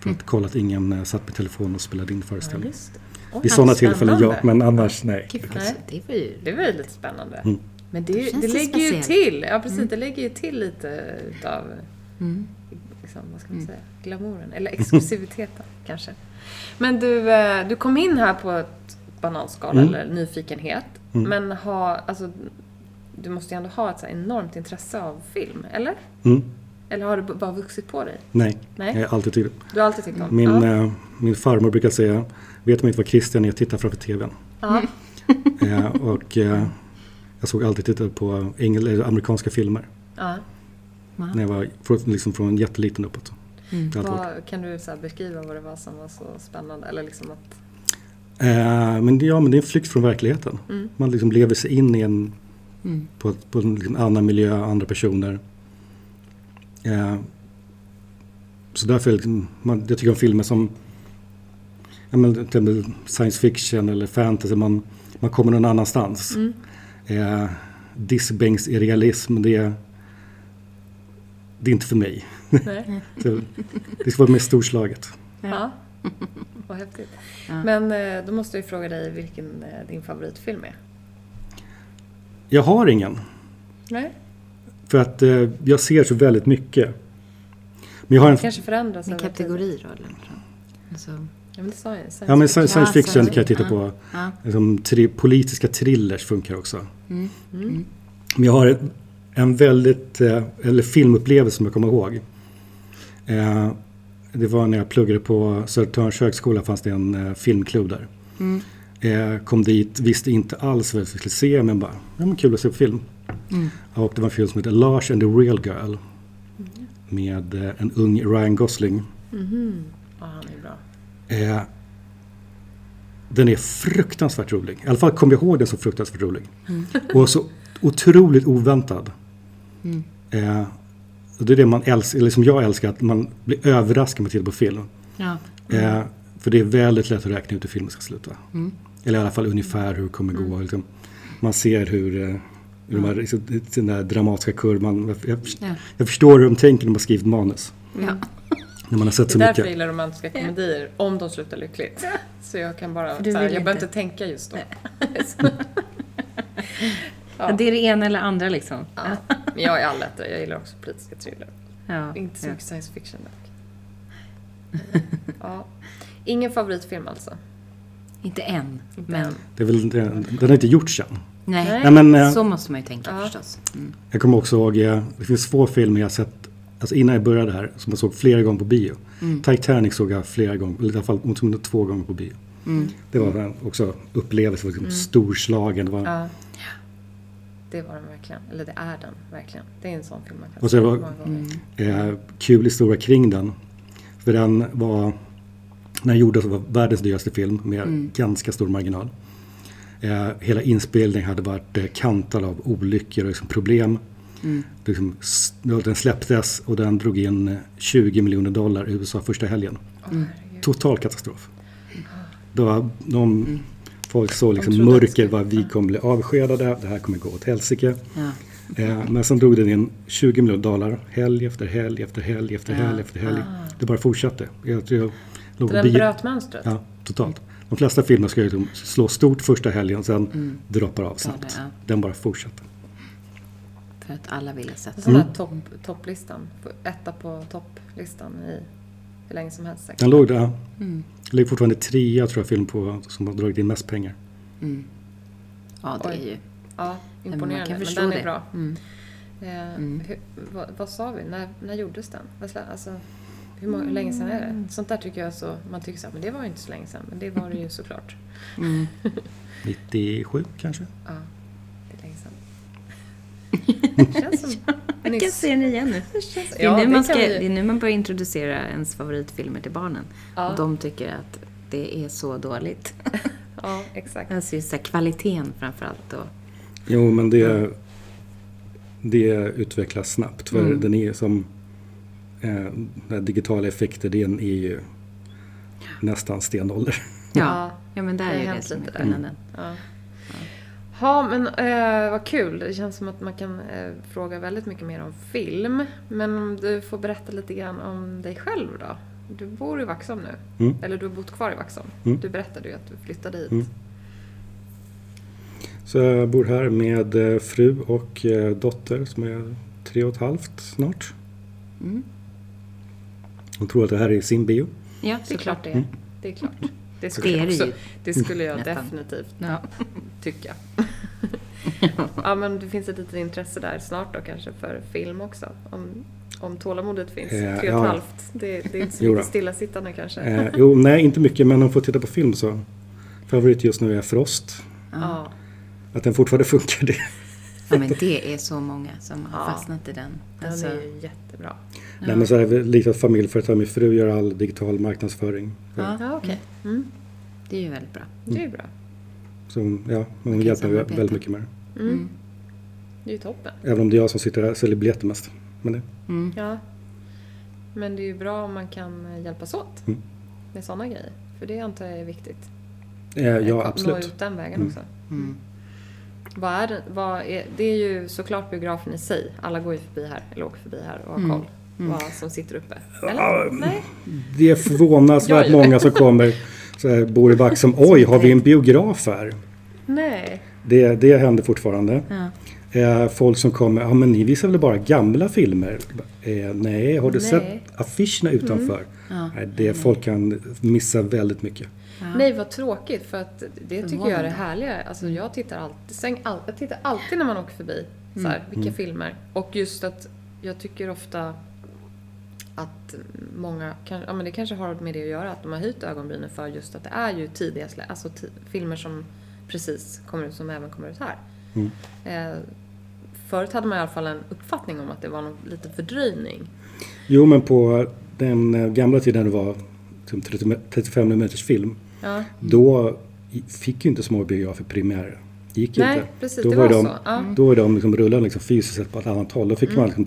C: För att kolla att ingen eh, satt med telefonen och spelade in föreställningen.
B: Mm. Just det. Oj,
C: Vid sådana
B: spännande.
C: tillfällen ja, men annars nej.
A: Gud, vad-
B: Nej.
A: det var ju...
B: Det var ju lite spännande.
C: Mm.
B: Men det,
A: Det
B: det,
A: känns
B: det
A: lite
B: lägger ju
A: speciellt.
B: till, ja precis, det lägger ju till lite utav liksom, vad ska man säga, glamouren, eller exklusiviteten kanske. Men du, eh, du kom in här på ett bananskal eller nyfikenhet, men ha, alltså, du måste ju ändå ha ett så här enormt intresse av film, eller?
C: Mm,
B: Eller har det b- bara vuxit på dig?
C: nej,
B: Nej.
C: jag är alltid tydlig.
B: Du har alltid tyckt om
C: Min,
B: ja.
C: eh, min farmor brukar säga, vet man inte vad Christian är, titta framför TVn.
B: Ja.
C: Eh, och eh, jag såg alltid titta på engel, eller amerikanska filmer.
B: Ja.
C: När jag var från, liksom från jätteliten uppåt. Det har alltid varit.
B: Vad, kan du så här beskriva vad det var som var så spännande? Eller liksom att,
C: Eh, men, det- ja, men det är en flykt från verkligheten. Man liksom lever sig in i en, på, ett- på en liksom annan miljö, andra personer. Eh, så därför, är liksom, man, jag tycker om filmer som ja, men, till exempel science fiction eller fantasy, man, man kommer någon annanstans. Eh, Disbänks i realism, det, det är inte för mig.
B: nej?
C: Så, det ska vara mer storslaget.
B: Ja. Vad häftigt. Men eh, då måste jag ju fråga dig vilken eh, din favoritfilm är.
C: Jag har ingen.
B: Nej.
C: För att eh, jag ser så väldigt mycket. Men jag har en...
B: Kanske förändras
A: En
B: över tid.
A: kategori då, eller? Alltså,
B: Ja men det sa jag ju. Science
C: Ja men
B: fiction.
C: sci- science
A: Ja,
C: fiction
A: science-
C: kan jag titta på.
A: ja. Mm.
C: Liksom, tri- politiska thrillers funkar också. Men jag har ett- en väldigt, eh, eller filmupplevelse som jag kommer ihåg. Eh, det var när jag pluggade på Södertörns högskola, fanns det en eh, filmklubb där.
A: Mm.
C: Eh, kom dit, visste inte alls vad jag skulle se men bara, ja men kul att se på film.
A: Mm.
C: Och det var en film som heter Lars and the Real Girl. Med eh, en ung Ryan Gosling.
B: Ja han är bra.
C: Eh, den är fruktansvärt rolig. I alla fall kommer jag ihåg den som fruktansvärt rolig.
B: Mm.
C: Och så otroligt oväntad.
B: Mm.
C: Eh, och det är det man älskar, eller som jag älskar, att man blir överraskad med till på film.
A: ja.
B: Mm.
C: Eh, för det är väldigt lätt att räkna ut hur filmen ska sluta. Eller i alla fall ungefär hur det kommer
B: Mm.
C: gå. Liksom, man ser hur, eh, hur de här, liksom, den där dramatiska kurvan. Jag, jag,
A: Ja.
C: jag förstår hur de tänker när man skrivit manus.
A: Ja.
C: När man har sett
B: Det är därför
C: så
B: jag
C: mycket.
B: gillar romantiska komedier. Om de slutar lyckligt. Så jag kan bara,
D: du
B: så här,
D: vill
B: jag behöver
D: inte.
B: inte tänka just då.
D: Ja, det är det ena eller andra liksom.
B: Ja. Men jag är allätare, jag gillar också politiska thriller.
D: Ja.
B: Inte så
D: Ja.
B: mycket science fiction dock. Ja. Ingen favoritfilm alltså?
A: Inte än,
B: Inte
A: men...
B: än.
C: Det är väl, den, den har inte gjorts än.
A: Nej.
B: Nej.
C: Nej, men, eh,
A: Så måste man ju tänka förstås.
C: Jag kommer också ihåg, eh, det finns få filmer jag sett alltså innan jag började här som jag såg flera gånger på bio. Titanic såg jag flera gånger, eller i alla fall åtminstone två gånger på bio. Det var en- också upplevelse, liksom, storslagen. Det var,
B: Ja. Det var den verkligen. Eller det är den verkligen. Det är en sån film man kan
C: Och så
B: se
C: var-
B: många gånger.
C: eh, kul historia kring den. För den var, när den gjordes var världens dyraste film med
B: Mm.
C: ganska stor marginal. Eh, hela inspelningen hade varit eh, kantad av olyckor och liksom problem.
B: Mm.
C: Liksom, s- den släpptes och den drog in eh, 20 miljoner dollar i USA första helgen. Total katastrof. Det var, de, Folk såg liksom
B: Mm. trodde att det
C: mörker, vad vi kommer bli avskedade, det här kommer gå åt helsike.
A: Ja.
C: Eh, Men sen drog den in 20 miljoner dollar helg efter helg efter helg efter helg efter helg.
A: Ah.
C: Det bara fortsatte. Jag, tror jag låg
B: Den
C: bio-
B: bröt mönstret.
C: Ja, totalt. De flesta filmer ska ju liksom slå stort första helgen och sen droppar av snabbt.
A: Mm. ja.
C: Den bara fortsatte.
A: För att alla ville se
B: Sån där topp, topplistan. Etta på topplistan i hur länge som helst säkert.
C: Den låg där. ja.
A: Mm.
C: Ligger fortfarande trea tror jag film på som har dragit in mest pengar.
A: Ja, det är ju...
B: Ja,
A: men man
B: imponerande.
A: kan
B: Men,
A: förstå
B: den är
A: det. Mm.
B: bra. Eh, Hur, vad, vad sa vi? När, när gjordes den? Vad slä- Alltså, hur, många, hur länge sedan är
A: Mm.
B: det? Sånt där tycker jag så... Man tycker så här, men det var ju inte så länge sedan. Men det var det ju såklart.
C: 97 kanske?
B: Ja, det är länge sedan. Det känns som
D: Jag kan
B: nyss.
D: se den igen nu.
B: Det känns-
D: Det är,
B: Ja,
D: nu man
B: det
D: ska,
B: kan
D: det
B: vi
D: är
B: ju.
D: nu man börjar introducera ens favoritfilmer till barnen.
B: Ja.
D: Och de tycker att det är så dåligt.
B: Ja, exakt.
D: Alltså just så här, kvaliteten framförallt då.
C: Jo, men det, det utvecklas snabbt. För den är som... Eh, den här digitala effekter, den är ju nästan stenålder.
D: Ja, ja men där
B: Det har
D: är ju det
B: hänt
D: som är
B: lite där.
D: skillnaden.
B: Ja. Ja, men eh, vad kul. Det känns som att man kan eh, fråga väldigt mycket mer om film. Men om du får berätta lite grann om dig själv då. Du bor i Vaxholm nu.
C: Mm.
B: Eller du har bott kvar i Vaxholm.
C: Mm.
B: Du berättade ju att du flyttade hit.
C: Mm. Så jag bor här med eh, fru och eh, dotter som är tre och ett halvt snart.
D: Mm.
C: Hon tror att det här är sin bio.
D: Ja,
B: Det är
D: såklart.
B: klart det är.
C: Mm.
B: Det är klart. Det
D: Det
B: skulle,
D: är
B: jag
D: det
B: också,
D: ju.
B: det skulle jag
D: Nästan.
B: definitivt
D: Ja.
B: tycka. ja, men det finns ett litet intresse där snart då kanske för film också. Om, om tålamodet finns.
C: Eh,
B: Tre och ett
C: ja.
B: halvt. Det, det är inte så
C: Jo då.
B: mycket stillasittande kanske.
C: Eh, jo, nej inte mycket men hon får titta på film så. Favorit just nu är Frost.
B: Ja.
C: Att den fortfarande funkar det.
D: ja, men det är så många som har
B: Ja.
D: fastnat i den. Alltså,
B: Den är ju jättebra.
C: Nej men så här, likt att familjeföretag, min fru gör all digital marknadsföring.
D: ja,
B: Ja, mm. okej.
D: det är ju väldigt bra.
B: Det är ju bra.
C: Så hon, ja, hon
D: kan
C: hjälper mig
D: samarbeta.
C: väldigt mycket med det.
B: Mm. Det är ju toppen.
C: Även om det är jag som sitter här och säljer biljetter mest. Men det,
B: Ja. Men det är ju bra om man kan hjälpas åt
C: Mm.
B: med sådana grejer. För det antar jag är viktigt.
C: eh, ja,
B: Att Nå
C: absolut.
B: ut den vägen
C: Mm.
B: också. Vad är, det- vad är, det är ju såklart biografen i sig. Alla går ju förbi här, eller åker förbi här och har koll. Vad som sitter uppe. Eller? Nej?
C: Det är förvånansvärt
B: Jag gör det.
C: många som kommer, så här, bor i Vaxholm. Oj, har vi en biograf här?
B: Nej.
C: Det, det händer fortfarande.
D: Ja.
C: Eh, folk som kommer, ja men ni visar väl bara gamla filmer? Eh, nej, har du
B: Nej. Mm.
C: sett affischerna utanför? Nej, det, Folk kan missa väldigt mycket.
B: Nej, vad tråkigt. För att det tycker
D: var
B: jag är
D: det
B: det härliga. Alltså,
C: Mm.
B: jag, tittar alltid, sen, all, jag tittar alltid när man åker förbi. Så
C: Mm.
B: här, vilka filmer. Och just att jag tycker ofta att många, kan, ja, men det kanske har med det att göra, att de har höjt ögonbrynen för just att det är ju tidiga, slä- alltså ti, filmer som precis kommer ut, som även kommer ut här.
C: Mm.
B: Eh, förut hade man i alla fall en uppfattning om att det var någon liten fördröjning.
C: Jo, men på den eh, gamla tiden det var typ 30 35 minuters film.
B: Ja.
C: Då i- fick ju inte små biografer premiär. Det gick
B: Nej,
C: inte.
B: precis,
C: då
B: det
C: var
B: var
C: de,
B: så. Ja.
C: Då var de liksom rullade liksom fysiskt sett på ett annat håll. Då fick man liksom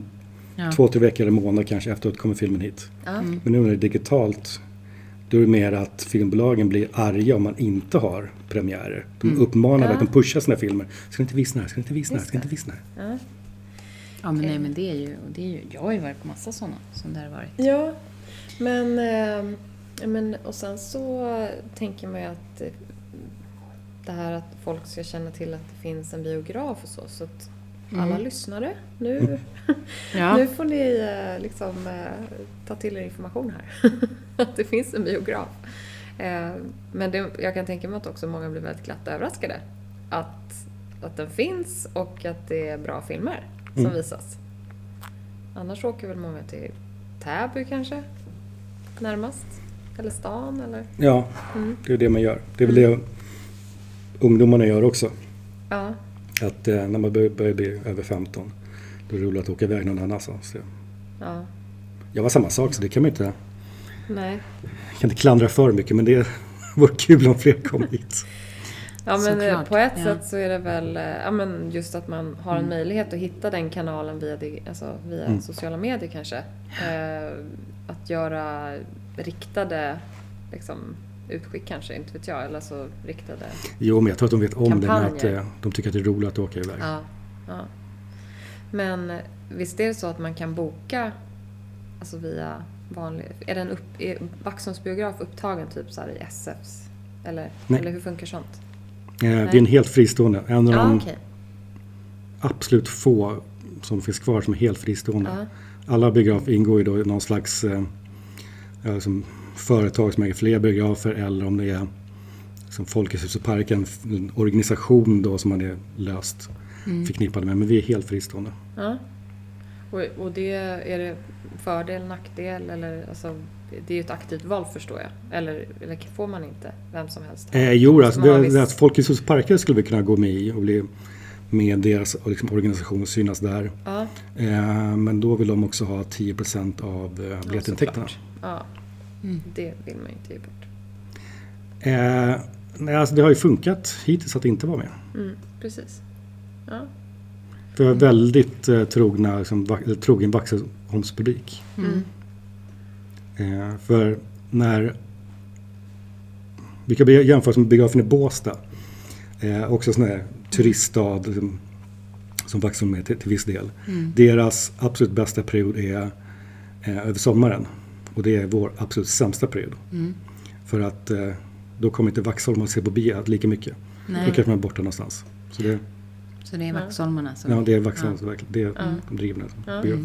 D: Ja.
C: två, tre veckor eller månad kanske efteråt kommer filmen hit.
B: Ja.
C: Men nu när det är digitalt då är det mer att filmbolagen blir arga om man inte har premiärer. De uppmanar verkligen, pushar sina filmer. Ska ni inte visa den här? Ska ni inte visa den här? Ska ni inte visa den här?
D: Ja, men nej, men det är ju, och det är ju, jag har ju varit på massa sådana som det har varit.
B: Ja, men, eh, ja, men och sen så eh, tänker man ju att eh, det här att folk ska känna till att det finns en biograf och så. Så att alla lyssnare, nu,
D: Ja.
B: nu får ni eh, liksom eh, ta till er information här. att det finns en biograf. Eh, men det, jag kan tänka mig att också många blir väldigt glatt överraskade. Att, att den finns och att det är bra filmer som visas. Annars åker väl många till Täby kanske? Närmast? Eller stan eller?
C: Ja, det är det man gör. Det är väl det ungdomarna gör också.
B: Ja.
C: Att eh, när man bör- börjar bli över 15 då är det roligt att åka iväg någon annanstans. Det-
B: ja.
C: Jag var samma sak så det kan man inte,
B: Nej.
C: kan inte klandra för mycket men det vore kul om fler kom hit.
B: Ja men eh,
D: Såklart,
B: på ett
D: ja. Mm.
B: sätt så är det väl eh, ja, men just att man har en möjlighet att hitta den kanalen via, dig- alltså, via sociala medier kanske. Eh, att göra riktade liksom, utskick kanske, inte vet jag. Eller så riktade...
C: Jo, men jag tror att de vet om det, men att
B: Kampanjer.
C: eh, de tycker att det är roligt att åka iväg.
B: Ja, ja. Men eh, visst är det så att man kan boka alltså via vanlig... Är den upp, är Vaxholms biograf upptagen typ så här i SFs? Eller,
C: Nej.
B: eller hur funkar sånt?
C: Eh, det är en helt fristående, en av
B: Ja,
C: de
B: okej.
C: absolut få som finns kvar som är helt fristående.
B: Ja.
C: Alla biografer ingår ju då i någon slags eh, ja, som företag som äger fler biografer eller om det är som Folkets hus och parken, f- en organisation då som man är löst
B: Mm.
C: förknippade med. Men vi är helt fristående.
B: Ja. Och, och det, är det fördel, nackdel eller alltså, det är ju ett aktivt val förstår jag. Eller, eller får man inte vem som helst?
C: Eh, jo, alltså,
B: man har
C: det,
B: viss-
C: det, alltså, Folkets hus och parker skulle vi kunna gå med i och bli med deras liksom, organisation och synas där.
B: Ja,
C: Eh, Men då vill de också ha 10 av eh, biljettintäkterna.
B: såklart. ja. det vill man ju inte ge bort.
C: Eh, nej, alltså det har ju funkat hittills att inte vara med.
B: Mm, precis. Ja.
C: För jag är väldigt eh, trogna, liksom, va- eller trogen Vaxholmspublik. Eh, för när Vi kan jämföra med biografen i Båstad. Eh, också en sån här turiststad som, som Vaxholm är till, till viss del. Deras absolut bästa period är eh, över sommaren. Och det är vår absolut sämsta period.
D: Mm.
C: För att eh, då kommer inte Vaxholm att se på bia lika mycket.
D: Nej.
C: Då kanske man är borta någonstans. Så det,
D: Så det är Vaxholmarna som... Mm.
C: ja, det är Vaxholm som verkligen, det är de drivna. biograf.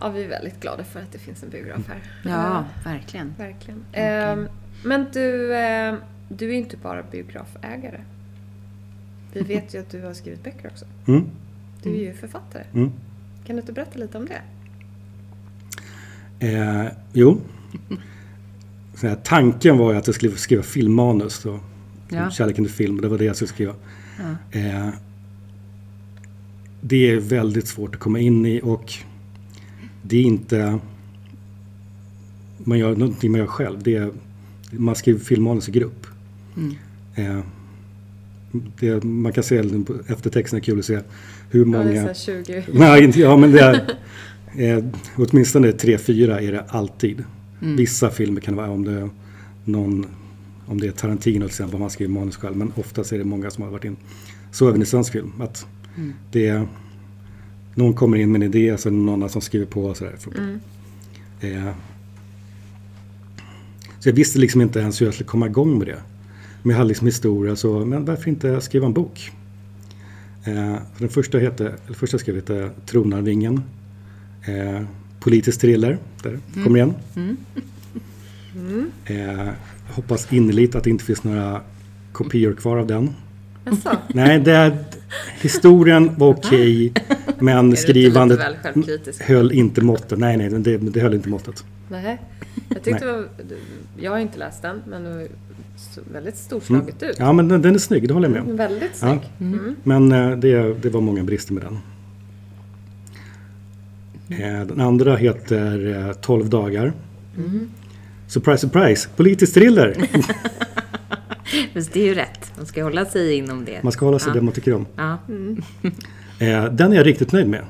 B: Ja, vi är väldigt glada för att det finns en biograf här.
D: Ja, verkligen.
B: Verkligen. Ehm, men du, ehm, du är ju inte bara biografägare. Vi vet ju att du har skrivit böcker också.
C: Mm.
B: Du är ju författare.
C: Mm.
B: Kan du inte berätta lite om det?
C: Eh, jo. Så här, tanken var ju att jag skulle skriva filmmanus. Då.
D: Ja.
C: Kärleken till film, det var det jag skulle skriva. Eh, det är väldigt svårt att komma in i och det är inte... Man gör någonting man gör själv. Det är, man skriver filmmanus i grupp.
D: Mm.
C: Eh, det, man kan se på eftertexten, är kul att se hur många...
B: Ja, det är så här 20.
C: Nej, inte, ja, men det är, eh, åtminstone tre, fyra är det alltid. Vissa filmer kan det vara om det är någon, om det är Tarantino till exempel, om han skriver manus själv. Men oftast är det många som har varit in. Så även i svensk film. Att det är, någon kommer in med en idé, så är det någon annan som skriver på. Och sådär. Eh, så jag visste liksom inte ens hur jag skulle komma igång med det. Men jag hade liksom historia, så men varför inte skriva en bok? Eh, för den första, hette, eller första jag skrev hette Tronarvingen. Eh, politisk thriller, där
B: Mm.
C: kommer igen. Eh, hoppas innerligt att det inte finns några kopior kvar av den.
B: Jaså?
C: Nej, det är, historien var okej, men
B: Är du inte lite
C: skrivandet
B: väl självkritisk?
C: höll inte måttet. Nej, nej, det, det höll inte måttet.
B: Nej. Jag tyckte det var, Jag har inte läst den, men det såg väldigt storslaget ut.
C: Mm. Ja, men den, den är snygg, det håller jag med om.
B: Väldigt
C: Ja.
B: snygg.
C: Men eh, det, det var många brister med den. Eh, Den andra heter eh, 12 dagar.
D: Mm.
C: Surprise, surprise! Politisk thriller!
D: Fast det är ju rätt. De ska hålla sig inom det.
C: Man ska hålla sig där man tycker om.
D: Ja.
C: Eh, Den är jag riktigt nöjd med.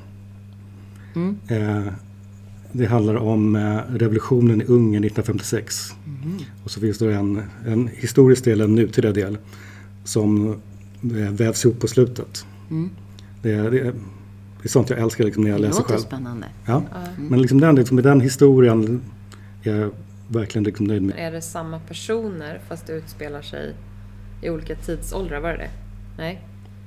D: Mm.
C: Eh, Det handlar om eh, revolutionen i Ungern 1956.
D: Mm.
C: Och så finns det en, en historisk del, en nutida del, som eh, vävs ihop på slutet. Det, är- det, är- det är sånt jag älskar liksom, när jag
D: Mm. Det
C: läser
D: låter
C: själv.
D: spännande.
C: Ja. Men liksom den, liksom, med den historien är jag verkligen liksom nöjd med.
B: Är det samma personer fast det utspelar sig i olika tidsåldrar? Var det det? Nej?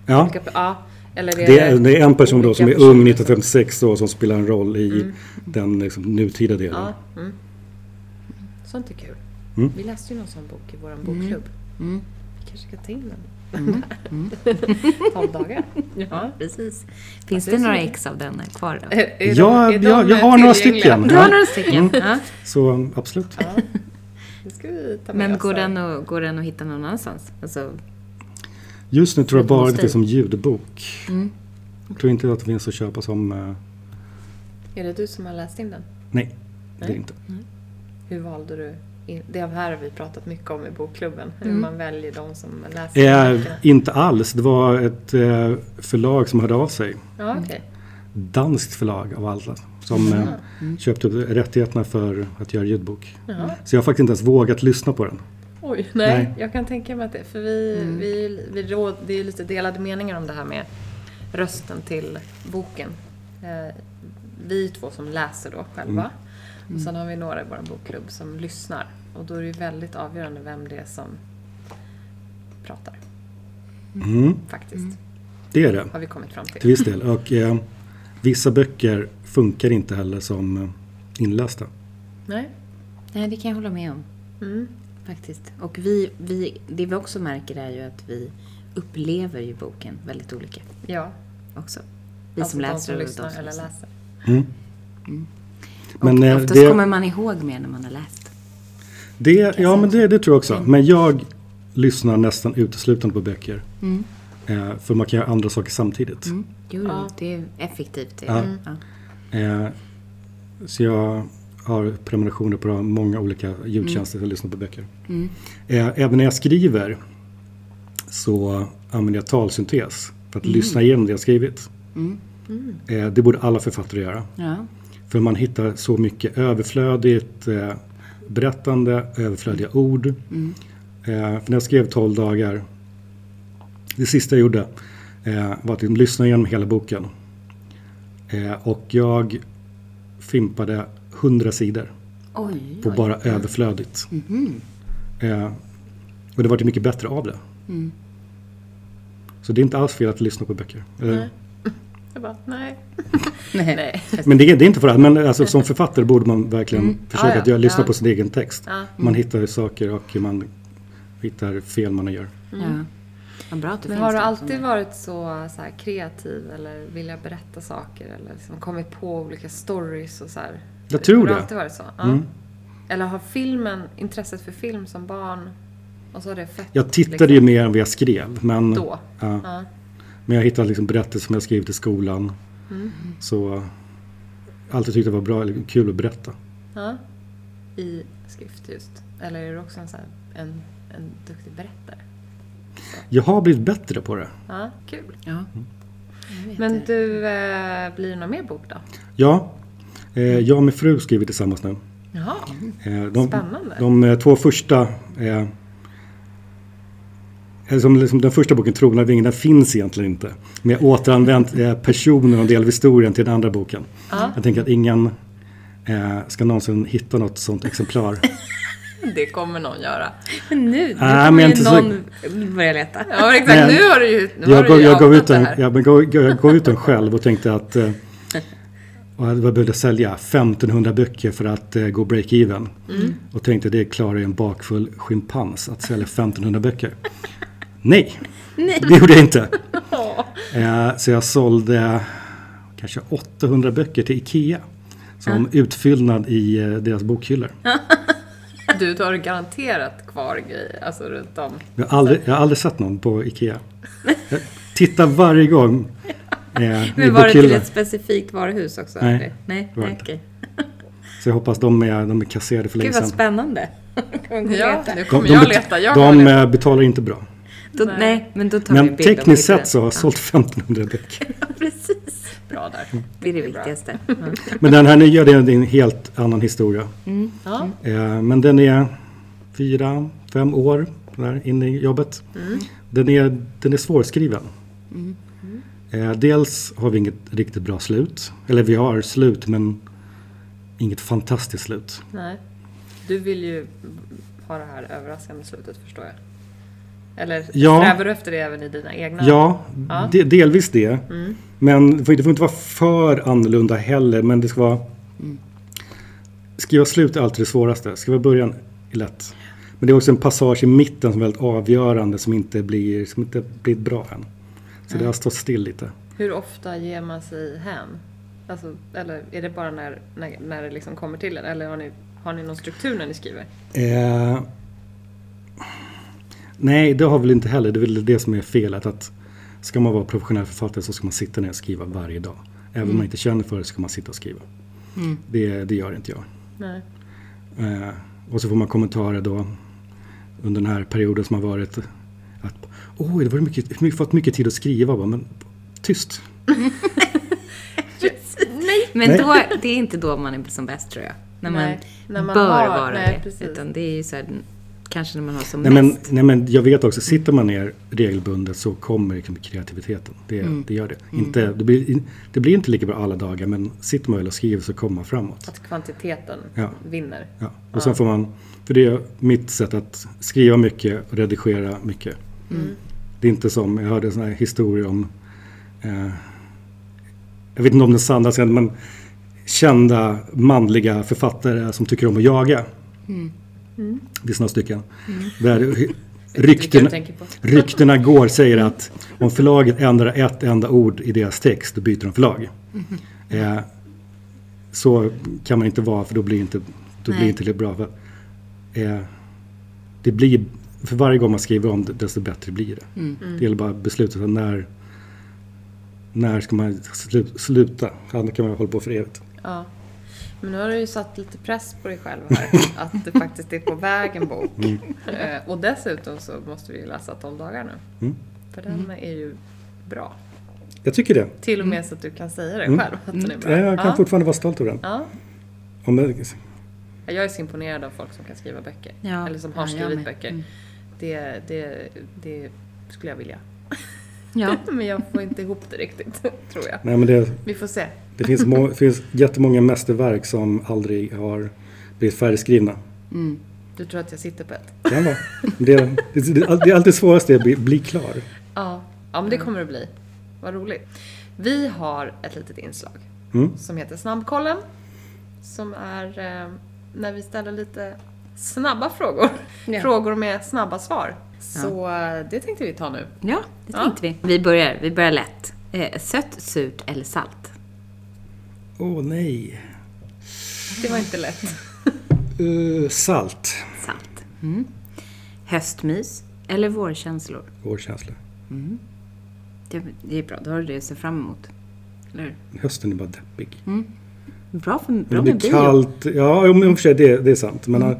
C: Ja.
B: Olika, ja. Eller är
C: Det är, det är en person då
B: olika
C: som är
B: personer
C: ung 1956 då, som spelar en roll i den liksom, nutida delen.
B: Ja, mm. Sånt är kul.
C: Mm.
B: Vi läste ju någon sån bok i vår
D: Mm.
B: bokklubb. Vi kanske ska ta in den. Tolv dagar. Ja.
D: Precis. Finns
B: det
D: det
B: är så
D: några
B: mycket.
D: ex av denna kvar då?
B: Är
C: Ja,
B: de- är de
C: jag, jag har några
B: tillgängliga?
C: stycken.
D: Du
C: Ja.
D: har några stycken.
C: Mm.
D: Ja.
C: Så um, absolut.
B: Det ska vi ta med
D: Men
B: oss
D: går
B: här.
D: den, att, går den att hitta någon annanstans? Alltså,
C: Just nu tror jag bara
D: hos
C: att det
D: dig.
C: finns som ljudbok. Jag tror inte att det finns att köpa som... eh,
B: Är det du som har läst in den?
C: nej, det är det inte.
B: Hur valde du? in- Det här har vi pratat mycket om i bokklubben. Hur man väljer de som läser.
C: Eh,
B: böckerna.
C: inte alls. Det var ett eh, förlag som hörde av sig.
B: Ja, okej.
C: danskt förlag av alla som eh, köpte upp rättigheterna för att göra ljudbok. Så jag har faktiskt inte ens vågat lyssna på den.
B: Oj, nej,
C: Nej.
B: Jag kan tänka mig att det... För vi, vi, vi råd, det är ju lite delade meningar om det här med rösten till boken. Eh, vi två som läser då själva. Och sen har vi några i vår bokklubb som lyssnar. Och då är det ju väldigt avgörande vem det är som pratar. Faktiskt.
C: Det är det,
B: Har vi kommit fram till.
C: till viss del. Och eh, vissa böcker funkar inte heller som eh, inlästa.
B: Nej? Mm.
D: nej, det kan jag hålla med om. Faktiskt. Och vi, vi, det vi också märker är ju att vi upplever ju boken väldigt olika
B: Ja.
D: också. Vi
B: alltså
D: som
B: de
D: läser
B: som
D: och de
B: lyssnar
D: som
B: eller
D: lyssnar.
B: läser.
D: Och
C: Men, eh,
D: oftast
C: det-
D: kommer man ihåg mer när man har läst. Mm.
C: Det, ja, men det, det tror jag också. Men jag lyssnar nästan uteslutande på böcker. Eh, för man kan göra andra saker samtidigt.
D: Jo, det är effektivt. Det.
C: Ja.
D: Ja.
C: Eh, så jag har prenumerationer på många olika ljudtjänster för att lyssna på böcker. Eh, även när jag skriver så använder jag talsyntes för att lyssna igenom det jag skrivit. Eh, det borde alla författare göra.
D: Ja.
C: För man hittar så mycket överflödigt, eh, berättande, överflödiga ord. Eh, för när jag skrev 12 dagar, det sista jag gjorde eh, var att lyssna igenom hela boken. Eh, och jag fimpade 100 sidor
D: Oj.
C: på bara överflödigt. Eh, och det vart ju mycket bättre av det. Så det är inte alls fel att lyssna på böcker. Eller,
B: Jag bara, nej.
D: Nej.
B: nej.
C: Men det är, det är inte för alla, men alltså, som författare borde man verkligen
B: Mm.
C: försöka
B: Ja, ja.
C: att göra, lyssna
B: Ja.
C: på sin egen text.
B: Ja. Mm.
C: Man hittar saker och man hittar fel man gör.
D: Ja. Vad bra att det
B: Men
D: finns
B: har du
D: något
B: alltid
D: sånt.
B: varit så, så här, kreativ eller vilja berätta saker eller liksom kommit på olika stories och så här?
C: Jag tror
B: har
C: det. Mm.
B: Har alltid varit så? Ja. Eller har filmen, intresset för film som barn och så har det fött
C: Jag tittade ju mer än vad jag skrev. Men,
B: liksom- då?
C: ja.
B: Ja.
C: men jag hittade liksom berättelser som jag skrivit i skolan.
B: Mm.
C: Så jag alltid tyckte det var bra, eller kul att berätta.
B: Ja. I skrift just. Eller är du också en, så här, en, en duktig berättare?
C: Jag har blivit bättre på det.
B: Ja, kul.
D: Ja.
B: Men du, eh, blir det någon mer bok då?
C: Ja, eh, jag och min fru skriver tillsammans nu.
B: Jaha.
C: Eh, de,
B: Spännande.
C: De eh, två första... Eh, eller som liksom den första boken, Trogna vingen, den finns egentligen inte. Men jag har återanvänt eh, personen och en del av historien till den andra boken. Jag tänker att ingen eh, ska någonsin hitta något sånt exemplar.
B: Det kommer någon göra.
E: Men nu, nu
C: Nej,
E: kommer
C: men
E: ju
C: inte så-
E: någon börja leta.
B: Ja, men exakt.
C: Men
B: nu har du ju nu har
C: jag,
B: du
C: gav,
B: ju
C: jag, gav
B: outat
C: ut den,
B: det här.
C: jag, men gav, jag gav ut den själv och tänkte att eh, och jag behövde sälja 1500 böcker för att eh, gå break-even.
B: Mm.
C: Och tänkte det klarar ju en bakfull schimpans att sälja 1500 böcker. Nej, det gjorde jag inte. Eh, så jag sålde kanske 800 böcker till Ikea. Som utfyllnad i eh, deras bokhyllor.
B: Du har garanterat kvar grejer, alltså runt om.
C: Jag har aldrig, jag har aldrig sett någon på Ikea. Jag tittar varje gång. Eh, i
E: Men var det till
C: bokhyllor.
E: ett specifikt varuhus också?
C: Nej,
E: eller? Nej,
C: det var
E: nej
C: inte.
E: okej.
C: Så jag hoppas de är, de är kasserade för länge
E: Gud vad
C: sedan.
E: spännande. Kommer gå och
B: Ja,
E: leta.
B: nu
C: De,
B: kommer
C: de,
B: jag
C: bet-
B: leta. Jag kommer
C: de
B: leta.
C: eh, betalar inte bra.
E: Då, nej, men då tar vi en
C: Men
E: bild och
C: tekniskt
E: skickar den.
C: sett så har jag sålt 1500 böcker.
E: Ja, precis.
B: Bra där.
E: Det är det viktigaste.
C: Men den här nya det är en helt annan historia.
B: Ja.
C: Eh, men den är fyra, fem år där, inne i jobbet.
B: Mm.
C: Den, är, den är svårskriven. Eh, dels har vi inget riktigt bra slut. Eller vi har slut men inget fantastiskt slut.
B: Nej. Du vill ju ha det här överraskande slutet förstår jag. Eller
C: Ja.
B: strävar du efter det även i dina egna?
C: Ja,
B: Ja.
C: de, delvis det. Men det får, inte, det får inte vara för annorlunda heller. Men det ska vara... Skriva slut är alltid det svåraste. Skriva början är lätt. Men det är också en passage i mitten som är väldigt avgörande som inte blir, som inte blir bra än. Så det har stått still lite.
B: Hur ofta ger man sig hän? Alltså, eller är det bara när, när, när det liksom kommer till en? Eller har ni, har ni någon struktur när ni skriver?
C: Eh, nej, det har väl inte heller. Det är väl det som är felet. Att ska man vara professionell författare så ska man sitta ner och skriva varje dag. Även om man inte känner för det så ska man sitta och skriva. Det, det gör inte jag.
B: Nej.
C: Eh, och så får man kommentarer då under den här perioden som har varit. Att, Oj, det var mycket, mycket, fått mycket tid att skriva. Jag Bara, men tyst.
E: Men
C: Nej.
E: då, det är inte då man är som bäst tror jag. När man,
B: Nej, när man
E: bör
B: har-
E: vara
B: nej,
E: det.
B: precis.
E: Utan det är ju så här, kanske när man har som
C: Nej men,
E: mest.
C: nej men jag vet också, sitter man ner regelbundet så kommer liksom kreativiteten. Det, det gör det. Inte, det, blir, in- det blir inte lika bra alla dagar men sitter man väl och skriver så kommer man framåt.
B: Att kvantiteten
C: Ja.
B: vinner.
C: Ja. Och sen får man, för det är mitt sätt att skriva mycket och redigera mycket. Det är inte som, jag hörde såna här historier om, eh, jag vet inte om det är sanna, men kända manliga författare som tycker om att jaga. Det är sådana stycken. Där
B: Vilka du
C: rykten,
B: tänker på.
C: Ryktena går säger att om förlaget ändrar ett enda ord i deras text, då byter de förlag. Eh, så kan man inte vara, för då blir inte, då blir
E: Nej.
C: inte det bra. För, eh, det blir, för varje gång man skriver om det, desto bättre blir det. Det gäller bara beslutet om när, när ska man slu- sluta. Annars kan man hålla på för evigt.
B: Ja. Men nu har du ju satt lite press på dig själv här. att det faktiskt är på väg en bok.
C: Mm.
B: Eh, Och dessutom så måste vi ju läsa 12 dagar nu.
C: Mm.
B: För den är ju bra.
C: Jag tycker det.
B: Till och
A: Mm.
B: med så att du kan säga det själv. Att den är bra.
C: Mm. Jag kan
B: ja.
C: fortfarande vara stolt över den.
B: Ja.
C: Om jag,
B: Jag är så imponerad av folk som kan skriva böcker.
A: Ja.
B: Eller som har
A: Ja, jag
B: skrivit
A: med. Mm.
B: böcker. Det, det, det skulle jag vilja.
A: Ja.
B: Men jag får inte ihop det riktigt, tror jag.
C: Nej, men det,
B: Vi får se.
C: det finns, må, finns jättemånga mästerverk som aldrig har blivit färdigskrivna.
B: Du tror att jag sitter på ett?
C: Kan vara. Det, det, det, det är alltid svåraste att bli, bli klar.
B: Ja. Ja, men det kommer det bli. Vad roligt. Vi har ett litet inslag
C: Mm.
B: som heter Snabbkollen. Som är eh, när vi ställer lite snabba frågor. Frågor med snabba svar. Så eh, det tänkte vi ta nu.
A: Ja, det
B: Ja.
A: tänkte vi. Vi börjar, vi börjar lätt. Eh, sött, surt eller salt?
C: Åh nej.
B: Det var inte lätt.
C: Eh, salt.
A: Salt. Mm. Höstmys eller vårkänslor? Mm.
C: Vår känsla.
A: Det, det är bra, då har du det att se fram emot.
C: Hösten är bara deppig.
A: Bra, för, bra
C: Det
A: med
C: blir
A: bio.
C: kallt. Ja, jo, men i och för sig, det, det är sant. Men, äh,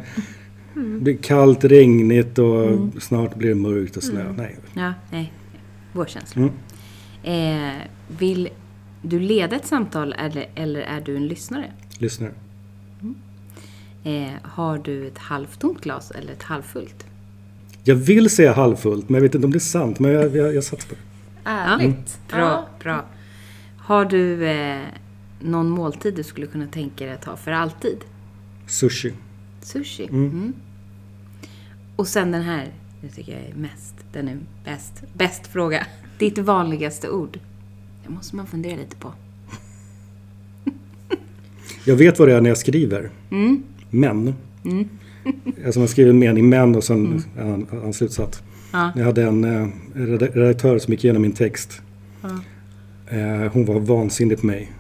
C: Det blir kallt, regnigt och snart blir det mörkt och snö. Nej.
A: Ja, nej. Vårkänslor. Eh, vill du leda ett samtal eller, eller är du en lyssnare?
C: Lyssnare.
A: Eh, har du ett halvtomt glas eller ett halvfullt?
C: Jag vill säga halvfullt, men jag vet inte om det är sant. Men jag, jag, jag satsar på det.
B: Ärligt.
A: Mm. Bra,
B: Ja.
A: bra. Har du eh, någon måltid du skulle kunna tänka dig att ha för alltid?
C: Sushi.
A: Sushi. Mm. Och sen den här, det tycker jag är mest, den är bäst, bäst fråga. Ditt vanligaste ord? Det måste man fundera lite på.
C: Jag vet vad det är när jag skriver. Men. Alltså man skriver en mening men och sen mm. anslutsatt.
A: Ja.
C: Jag hade en eh, reda- redaktör som gick igenom min text. Eh, Hon var vansinnig på mig.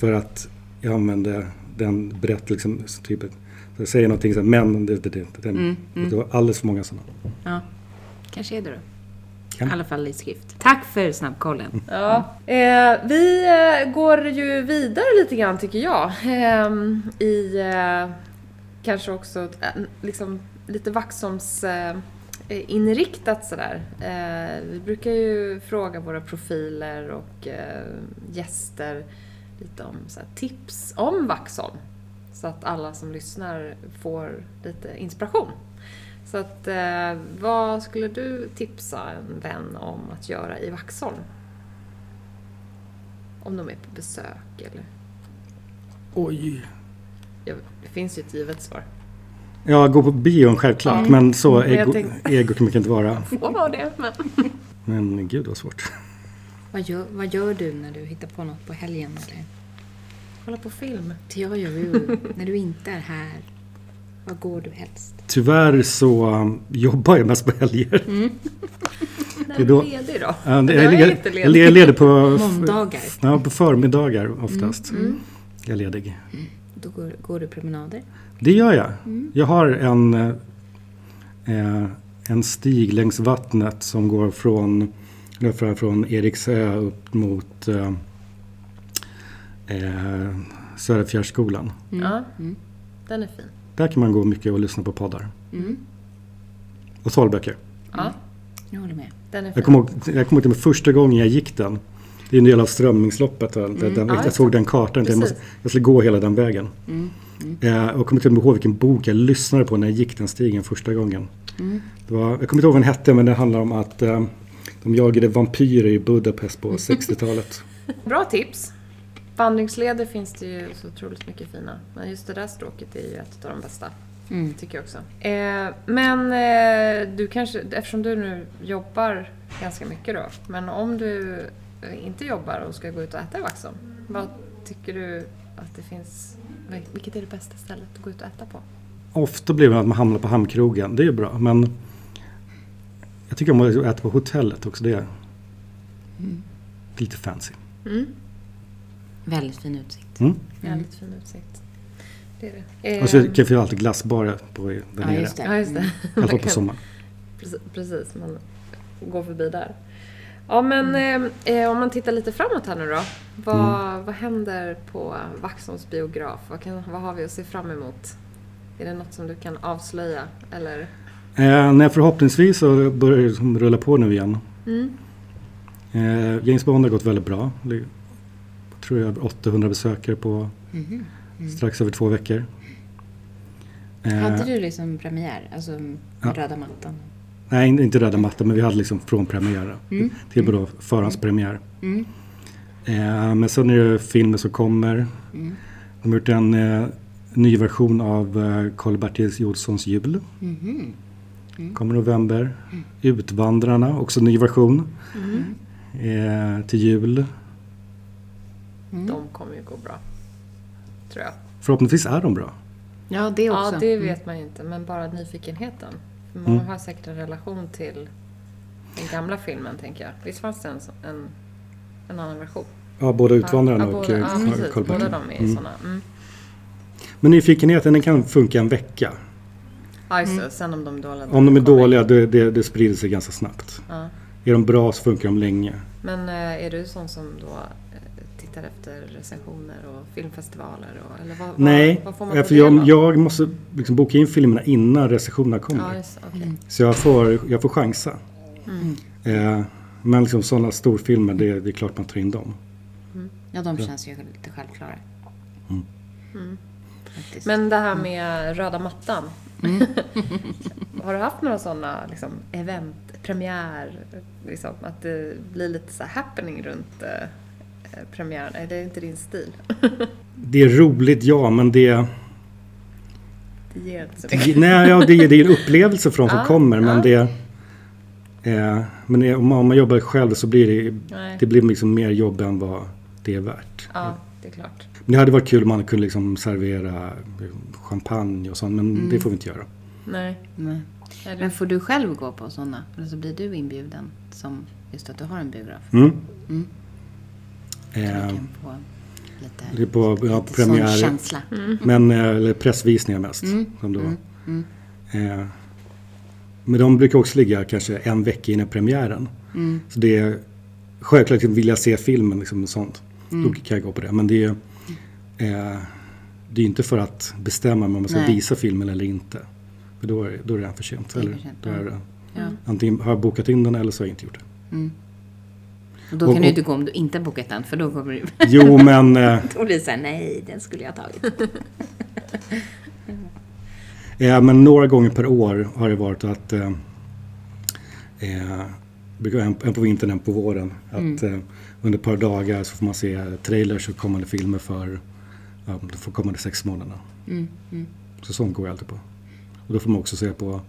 C: För att jag använde den berättelsen. så Typ, så jag säger någonting så här, men det, det, det, det, det var alldeles för många sådana.
A: Ja, kanske är det då.
C: Kan-
A: I alla fall i skrift. Tack för snabbkollen.
B: Ja. Eh, vi eh, går ju vidare lite grann tycker jag. Ehm, I eh, kanske också eh, liksom lite Vaxholms eh, inriktat sådär. Eh, vi brukar ju fråga våra profiler och eh, gäster lite om så här, tips om Vaxholm. Så att alla som lyssnar får lite inspiration. Så att eh, vad skulle du tipsa en vän om att göra i Vaxholm? Om de är på besök eller...
C: Oj.
B: Ja, det finns ju ett givet svar.
C: Ja, gå på bion självklart. Men så
B: Men jag
C: ego,
B: tänkte-
C: ego kan man inte vara.
B: Vad var det? Men...
C: Men gud vad svårt.
A: Vad gör, vad gör du när du hittar på något på helgen? Eller?
B: Kolla på film.
A: Till jag gör ju när du inte är här. Vad går du helst?
C: Tyvärr så um, jobbar jag mest på helger.
B: När
C: Det
B: är
C: är då-
B: du ledig då?
C: Ja, det-
B: Jag är
C: jag,
B: inte ledig.
C: jag, jag är ledig på,
A: Måndagar.
C: ja, på förmiddagar oftast. Jag är ledig.
A: Då går, går du promenader.
C: Det gör jag. Jag har en, eh, en stig längs vattnet som går från, eller från- från Eriksö upp mot eh, eh, Söderfjärdsskolan.
B: Ja. Mm, Den är fin.
C: Där kan man gå mycket och lyssna på poddar. Och talböcker.
B: Ja,
A: Jag håller med.
B: den är fin.
C: Jag kommer ihåg, jag kommer ihåg till och med första gången jag gick den. Det är en del av Strömmingsloppet. Där,
A: Mm,
C: där, den, jag såg den kartan. Jag, måste, jag skulle gå hela den vägen.
A: Mm,
C: Eh, och jag kommer till och med ihåg vilken bok jag lyssnade på när jag gick den stigen första gången.
A: Mm.
C: Det var, jag kommer inte ihåg vad den hette men det handlar om att eh, de jagade vampyrer i Budapest på 60-talet.
B: Bra tips! Vandringsleder finns det ju så otroligt mycket fina. Men just det där stråket är ju ett av de bästa.
A: Mm.
B: Tycker jag också. Eh, men eh, du kanske, eftersom du nu jobbar ganska mycket då. Men om du eh, inte jobbar och ska gå ut och äta i Vaxholm. Vad tycker du att det finns, vil- vilket är det bästa stället att gå ut och äta på?
C: Ofta blir det att man hamnar på hamnkrogen. Det är ju bra men jag tycker om att liksom äta på hotellet också. Det är
A: Mm.
C: lite fancy.
A: Väldigt fin utsikt.
B: Jävligt fin utsikt. Det är det.
C: Och så
B: Eh,
C: kan Alltså, jag ju alltid glassbarer på där
A: Ja,
C: nere.
A: just det.
B: ja, just det.
C: I alla fall på sommaren.
B: Precis, precis, man går förbi där. Ja, men eh, eh, om man tittar lite framåt här nu då. Vad, vad händer på Vaxholms biograf? Vad, kan, vad har vi att se fram emot? Är det något som du kan avslöja? Eller?
C: Eh, nej, förhoppningsvis så börjar det som rulla på nu igen. Eh, James Bond har gått väldigt bra. Det är,
A: Mm. Mhm,
C: tror jag över 800 besökare på strax över två veckor.
E: Mm. Hade du liksom premiär? Alltså röda mattan?
C: Nej, in- inte röda mattan, men vi hade liksom från premiär
E: Mm.
A: Mm,
C: till och med då förhandspremiär. Eh, men sen är det filmer som kommer.
A: mm, mhm.
C: De har gjort en eh, ny version av eh, Karl-Bertil Jonssons jul.
A: Mhm.
C: Kommer i november.
E: Mm.
C: Utvandrarna, också ny version.
A: Mm,
C: Eh, till jul.
A: mm.
B: De kommer ju gå bra. Tror jag.
C: Förhoppningsvis är de bra.
E: Ja, det också.
B: Ja,
A: Mm.
B: det vet man ju inte, men bara nyfikenheten. För man har säkert en relation till den gamla filmen, tänker jag. Visst fanns det en, sån- en, en annan version?
C: Ja, både Utvandrarna
B: ja,
C: och
B: båda, ja,
C: eh,
B: precis. Båda
C: Karl-Bertil.
B: de är såna. Mm.
C: Men nyfikenheten den kan funka en vecka.
B: Ja, just det. Sen om de är dåliga.
C: Om de är
B: kommer-
C: dåliga, det, det, det sprider sig ganska snabbt.
B: Ja.
C: Är de bra så funkar de länge.
B: Men eh, är du sån som då eh, tittar efter recensioner och filmfestivaler? Och, eller vad, vad-
C: Nej, eh,
B: vad får man
C: för
B: ta del
C: jag,
B: av?
C: jag måste liksom boka in filmerna innan recensionerna kommer.
B: Ja, just, okay.
C: Så jag får, jag får chansa.
B: Mm.
C: Eh, men liksom sådana storfilmer, det, det är klart man tar in dem.
E: Ja, de känns ju lite självklara.
C: Mm.
B: Mm. Men det här med röda mattan. har du haft några sådana liksom, event, premiär, liksom, att det blir lite så här happening runt eh, eh, premiären? Är det inte din stil?
C: Det är roligt, ja, men det...
B: det ger inte så mycket.
C: det nej, ja, det, det är en upplevelse för de som kommer, men det... Eh, men det, om, man, om man jobbar själv så blir det,
B: Nej.
C: det blir liksom mer jobb än vad det är värt.
B: Ja, det är klart.
C: Men det hade varit kul om man kunde liksom servera eh, champagne och sånt, men
E: Mm.
C: det får vi inte göra.
B: Nej.
E: Nej.
B: Är det-
E: Mm. Men får du själv gå på sådana? Eller så blir du inbjuden som just att du har en biograf.
C: Mm.
E: Mm.
C: Eh,
E: Du kan få lite,
C: det är på ja,
E: lite sån
C: premiär,
E: känsla. Mm.
C: men, eh, eller pressvisningar mest. Som det var. Eh, men de brukar också ligga kanske en vecka innan premiären.
E: Mm,
C: Så det är självklart liksom, vill jag se filmen liksom, och sånt.
E: Mm.
C: Då kan jag gå på det. Men det är eh, det är inte för att bestämma mig om jag ska
E: Nej.
C: visa filmen eller inte. För då är, då är det redan för sent.
E: är
C: Eller,
E: för sent,
C: då är
E: mm.
C: det,
E: Ja.
C: Antingen har jag bokat in den eller så har jag inte gjort det.
E: mm. Och då
C: Och-
E: kan du
C: och-
E: inte gå om du inte har bokat den, för då kommer du...
C: Jo, men eh,
E: då blir det såhär, nej, den skulle jag ha tagit.
C: Eh, men några gånger per år har det varit att eh, eh, brukar vara en, en på vintern en på våren. Att
E: Mm.
C: eh, under ett par dagar så får man se trailers och kommande filmer för ja, de får kommande sex månaderna.
E: Mm,
C: Så sånt går jag alltid på. Och då får man också se på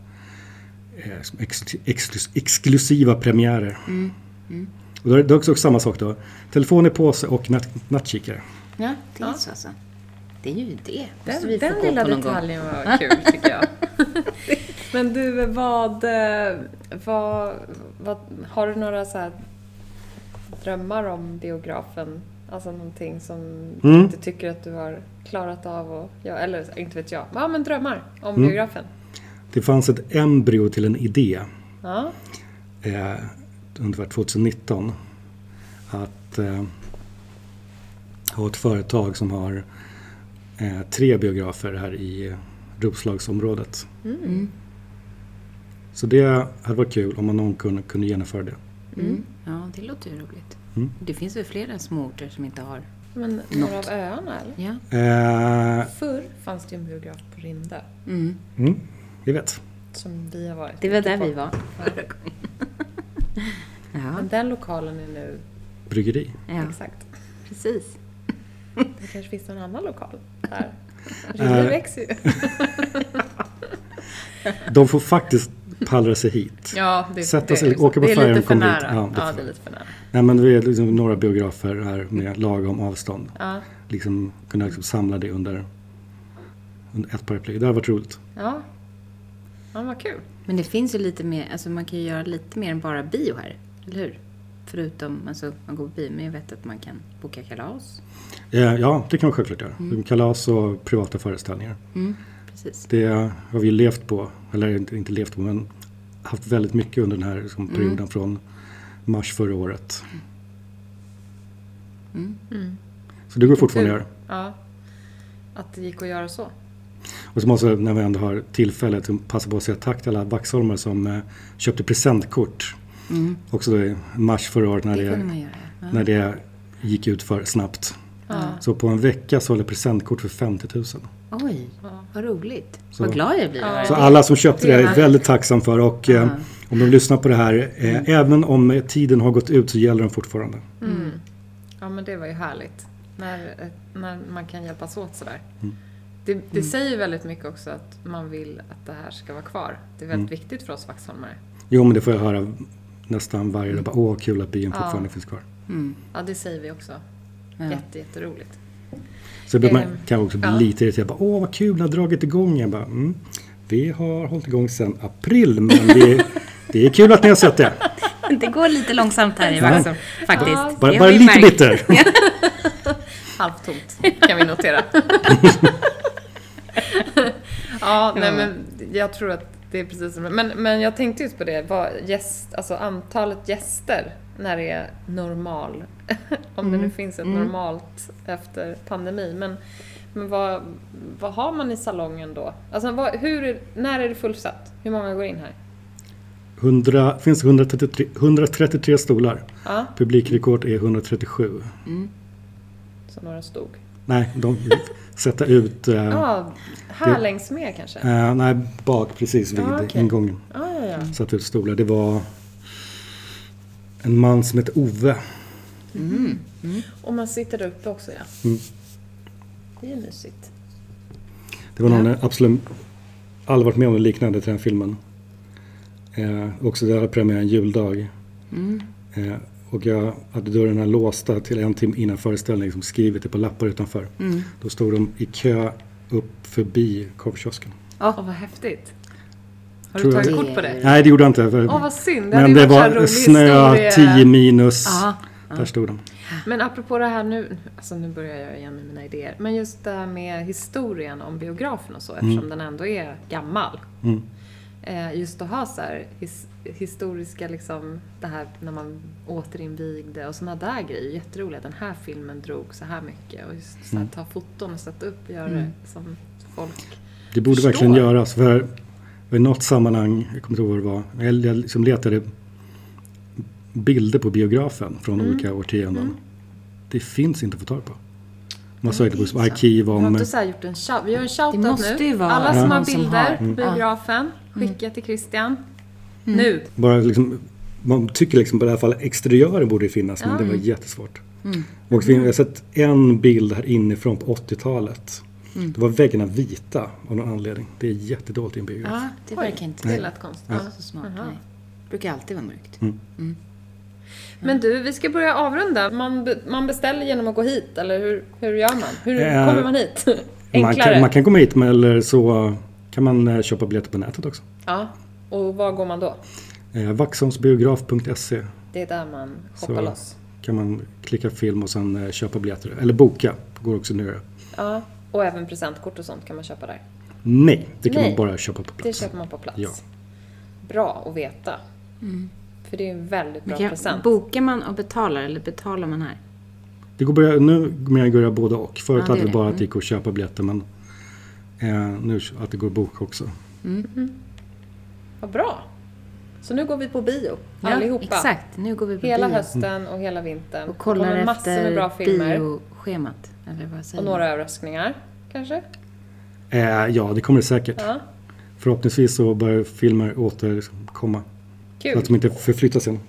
C: eh, som ex, exklus, exklusiva premiärer. Och då är det också, också samma sak då. Telefon i påse och natt, nattkikare.
E: Ja, det är så alltså. Det är ju det. Måste
B: Den,
E: vi få
B: den
E: gå
B: lilla
E: på någon gång.
B: detaljen var kul tycker jag. Men du, vad, eh, vad, vad... Har du några så här drömmar om biografen? Alltså någonting som du
C: Mm.
B: inte tycker att du har klarat av och, ja, eller inte vet jag. Ja, men drömmar om
C: Mm.
B: biografen.
C: Det fanns ett embryo till en idé.
B: Ja,
C: eh, ungefär 2019 att eh, ha ett företag som har eh, tre biografer här i Roslagsområdet.
E: Mm,
C: Så det hade varit kul om man någon kunde, kunde genomföra det.
E: mm.
B: Mm.
E: Ja, det låter ju roligt.
C: Mm.
E: Det finns väl flera småorter som inte har...
B: men några av öarna eller?
E: Ja.
C: Eh,
B: Förr fanns det ju en biograf på Rinde
E: Mm.
C: mm, jag vet.
B: som vi har varit
E: Det var
B: mycket
E: där
B: på.
E: vi var förra gången. ja,
B: Men den lokalen är nu,
C: Bryggeri.
E: ja,
B: exakt.
E: precis.
B: Det kanske finns någon annan lokal där. Rinde
C: Eh.
B: växer ju.
C: De får faktiskt pallra sig hit.
B: Ja, det,
C: Sätta
B: det,
C: sig,
B: är så.
C: åka på
B: det är
C: färjan
B: lite
C: och
B: för
C: komma dit.
B: nära.
C: Ja, det
B: Ja,
C: är
B: det
C: för-
B: är lite för nära.
C: Nej, men vi är liksom några biografer här med lagom avstånd.
B: Ja,
C: Liksom, kunna liksom samla det under, under ett paraply. Det hade varit roligt.
B: ja. ja vad kul.
E: Men det finns ju lite mer, alltså man kan ju göra lite mer än bara bio här, eller hur? Förutom, alltså man går på bio, men jag vet att man kan boka kalas.
C: Eh, Ja, det kan man självklart göra.
E: Mm.
C: Kalas och privata föreställningar.
E: Precis.
C: Det har vi levt på, eller inte, inte levt på, men haft väldigt mycket under den här liksom,
E: Mm.
C: perioden från mars förra året.
E: Mm.
C: Så det går fortfarande att göra.
B: Ja. Att det gick att göra så.
C: Och så måste jag, när vi ändå har tillfället, passa på att säga tack till alla Vaxholmare som eh, köpte presentkort.
E: Mm.
C: Också då i mars förra året när
E: Det
C: det,
E: kunde man göra. Ja.
C: när det gick ut för snabbt. Så på en vecka sålde jag presentkort för 50 000.
E: Oj, vad roligt.
C: Så-
E: Vad glad jag blir.
C: Så alla som köpte det är jag väldigt tacksam för och eh, om de lyssnar på det här, eh, även om eh, tiden har gått ut så gäller den fortfarande.
B: Mm. Ja men det var ju härligt. När, eh, när man kan hjälpas åt sådär.
C: Mm.
B: Det, det säger ju väldigt mycket också att man vill att det här ska vara kvar. Det är väldigt
C: Mm.
B: viktigt för oss Vaxholmare.
C: Jo men det får jag höra nästan varje dag. Bara, Åh vad kul att byn fortfarande finns kvar.
E: Mm.
B: Ja det säger vi också. Jätte, jätteroligt.
C: Så blir man
B: Ehm,
E: Eh,
C: kan också bli
B: ja.
C: lite irriterad. Bara, Åh vad kul, ni har dragit igång. Jag bara, mm, vi har hållit igång sedan april men det, det är kul att ni har sett det.
E: Det går lite långsamt här i Vaxholm, faktiskt.
C: Bara,
E: Det har
C: bara
E: vi
C: lite
E: märkt.
C: bitter.
B: Halvtomt kan vi notera. ja, nej men jag tror att det är precis som... Men, men jag tänkte just på det, vad gäst, alltså antalet gäster när det är normal. Om det nu finns ett normalt efter pandemi. Men, men vad, vad har man i salongen då? Alltså vad, hur, är- när är det fullsatt? Hur många går in här?
C: 100, finns 133, 133 stolar.
B: Ja.
C: Publikrekord är 137.
B: Så några stod.
C: Nej, de sätter ut... eh,
B: Ja, här längs med kanske? Ja,
C: Eh, nej, bak precis vid
B: Ah, okej.
C: ingången.
B: ja, ja.
C: Satt ut stolar. Det var en man som hette Ove.
B: Och man sitter där uppe också ja. Det är ju mysigt.
C: Det var någon absolut aldrig varit med om något liknande till den här filmen. Eh, också där hade premiären juldag.
B: Mm.
C: Eh, och jag hade dörrarna låsta till en timme innan föreställningen som skrivit det på lappar utanför.
B: Mm.
C: Då stod de i kö upp förbi korvkiosken.
B: Åh, vad häftigt. Har
C: Tror
B: du tagit
C: jag-
B: kort på det?
C: Nej, det gjorde jag inte. för-
B: Åh, vad synd. Det hade
C: Men
B: ju
C: det
B: varit en
C: var
B: rolig
C: snö,
B: historia.
C: 10 minus. Där stod de.
B: Men apropå det här nu, alltså nu börjar jag igen med mina idéer. Men just det här med historien om biografen och så,
C: Mm.
B: eftersom den ändå är gammal. Eh, just att ha så här his, historiska, liksom, det här när man återinvigde och sådana där grejer. Jätteroligt. Den här filmen drog så här mycket. Och just
C: Mm.
B: så här, ta foton och sätta upp, göra det som folk
C: Det borde
B: Förstår.
C: verkligen göras. För i något sammanhang, jag kommer inte ihåg vad det var, men jag- jag liksom letade bilder på biografen från
B: Mm.
C: olika årtionden. Det finns inte att få tag på. Man sökte på arkiv
B: Vi har
C: om...
B: inte så här gjort en shout, vi gör en shoutout
E: Det måste
B: nu.
E: ju vara
B: Alla som
E: någon
B: har
E: som
B: bilder
E: har. Mm.
B: på biografen, skicka till Christian. Nu!
C: Bara liksom, man tycker liksom på det här fallet exteriören borde finnas, men det var jättesvårt.
B: Mm.
C: Och vi- jag har sett en bild här inifrån på 80-talet.
B: Mm.
C: Då var väggarna vita av någon anledning. Det är jättedåligt i en biograf.
E: Ja, det verkar inte
B: Det lät konstigt.
E: vara så smart. Nej. Det brukar alltid vara mörkt.
B: Men du, vi ska börja avrunda. Man, be- man beställer genom att gå hit, eller hur, hur gör man? Hur
C: Eh,
B: kommer man hit?
C: man,
B: Enklare.
C: kan, man kan komma hit, men eller så kan man eh, köpa biljetter på nätet också.
B: Ja. Och var går man då?
C: Eh, Vaxholmsbiograf.se
B: Det är där man shoppar
C: Så.
B: loss.
C: kan man klicka film och sen eh, köpa biljetter. Eller boka, går också nu. att göra.
B: Ja. Och även presentkort och sånt kan man köpa där.
C: Nej, det kan
B: Nej.
C: man bara köpa på
B: Det
C: plats.
B: köper man på plats.
C: Ja.
B: Bra att veta.
E: Mm.
B: För det är en väldigt bra
E: Ja,
B: present.
E: bokar man och betalar eller betalar man här?
C: Det går börja, nu kommer jag göra både och. Förut
E: Ja, det
C: hade
E: är
C: vi
E: det. Mm.
C: bara att det gick att köpa biljetter men eh, nu s- att det går att boka också.
B: Vad bra! Så nu går vi på bio, allihopa.
E: Exakt, nu går vi på
B: Hela
E: bio
B: hösten och hela vintern.
E: och kollar
B: det kommer massor med bra
E: efter
B: filmer.
E: bioschemat. Eller vad säger
B: Och några överraskningar, kanske?
C: Eh, ja, det kommer det säkert.
B: Ja.
C: Förhoppningsvis så börjar filmer återkomma. Så
B: Kul!
C: att de inte förflyttas igen.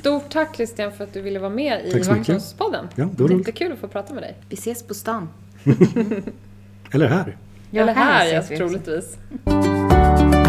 B: Stort tack Christian för att du ville vara med i
C: Tack så mycket.
B: Vakthuspodden.
C: Ja, det var roligt.
B: Jättekul att få prata med dig.
E: man? Vi ses på stan.
C: Eller här.
E: Ja,
B: Eller
E: här
B: här,
E: ses
B: ja,
E: vi också.
B: troligtvis.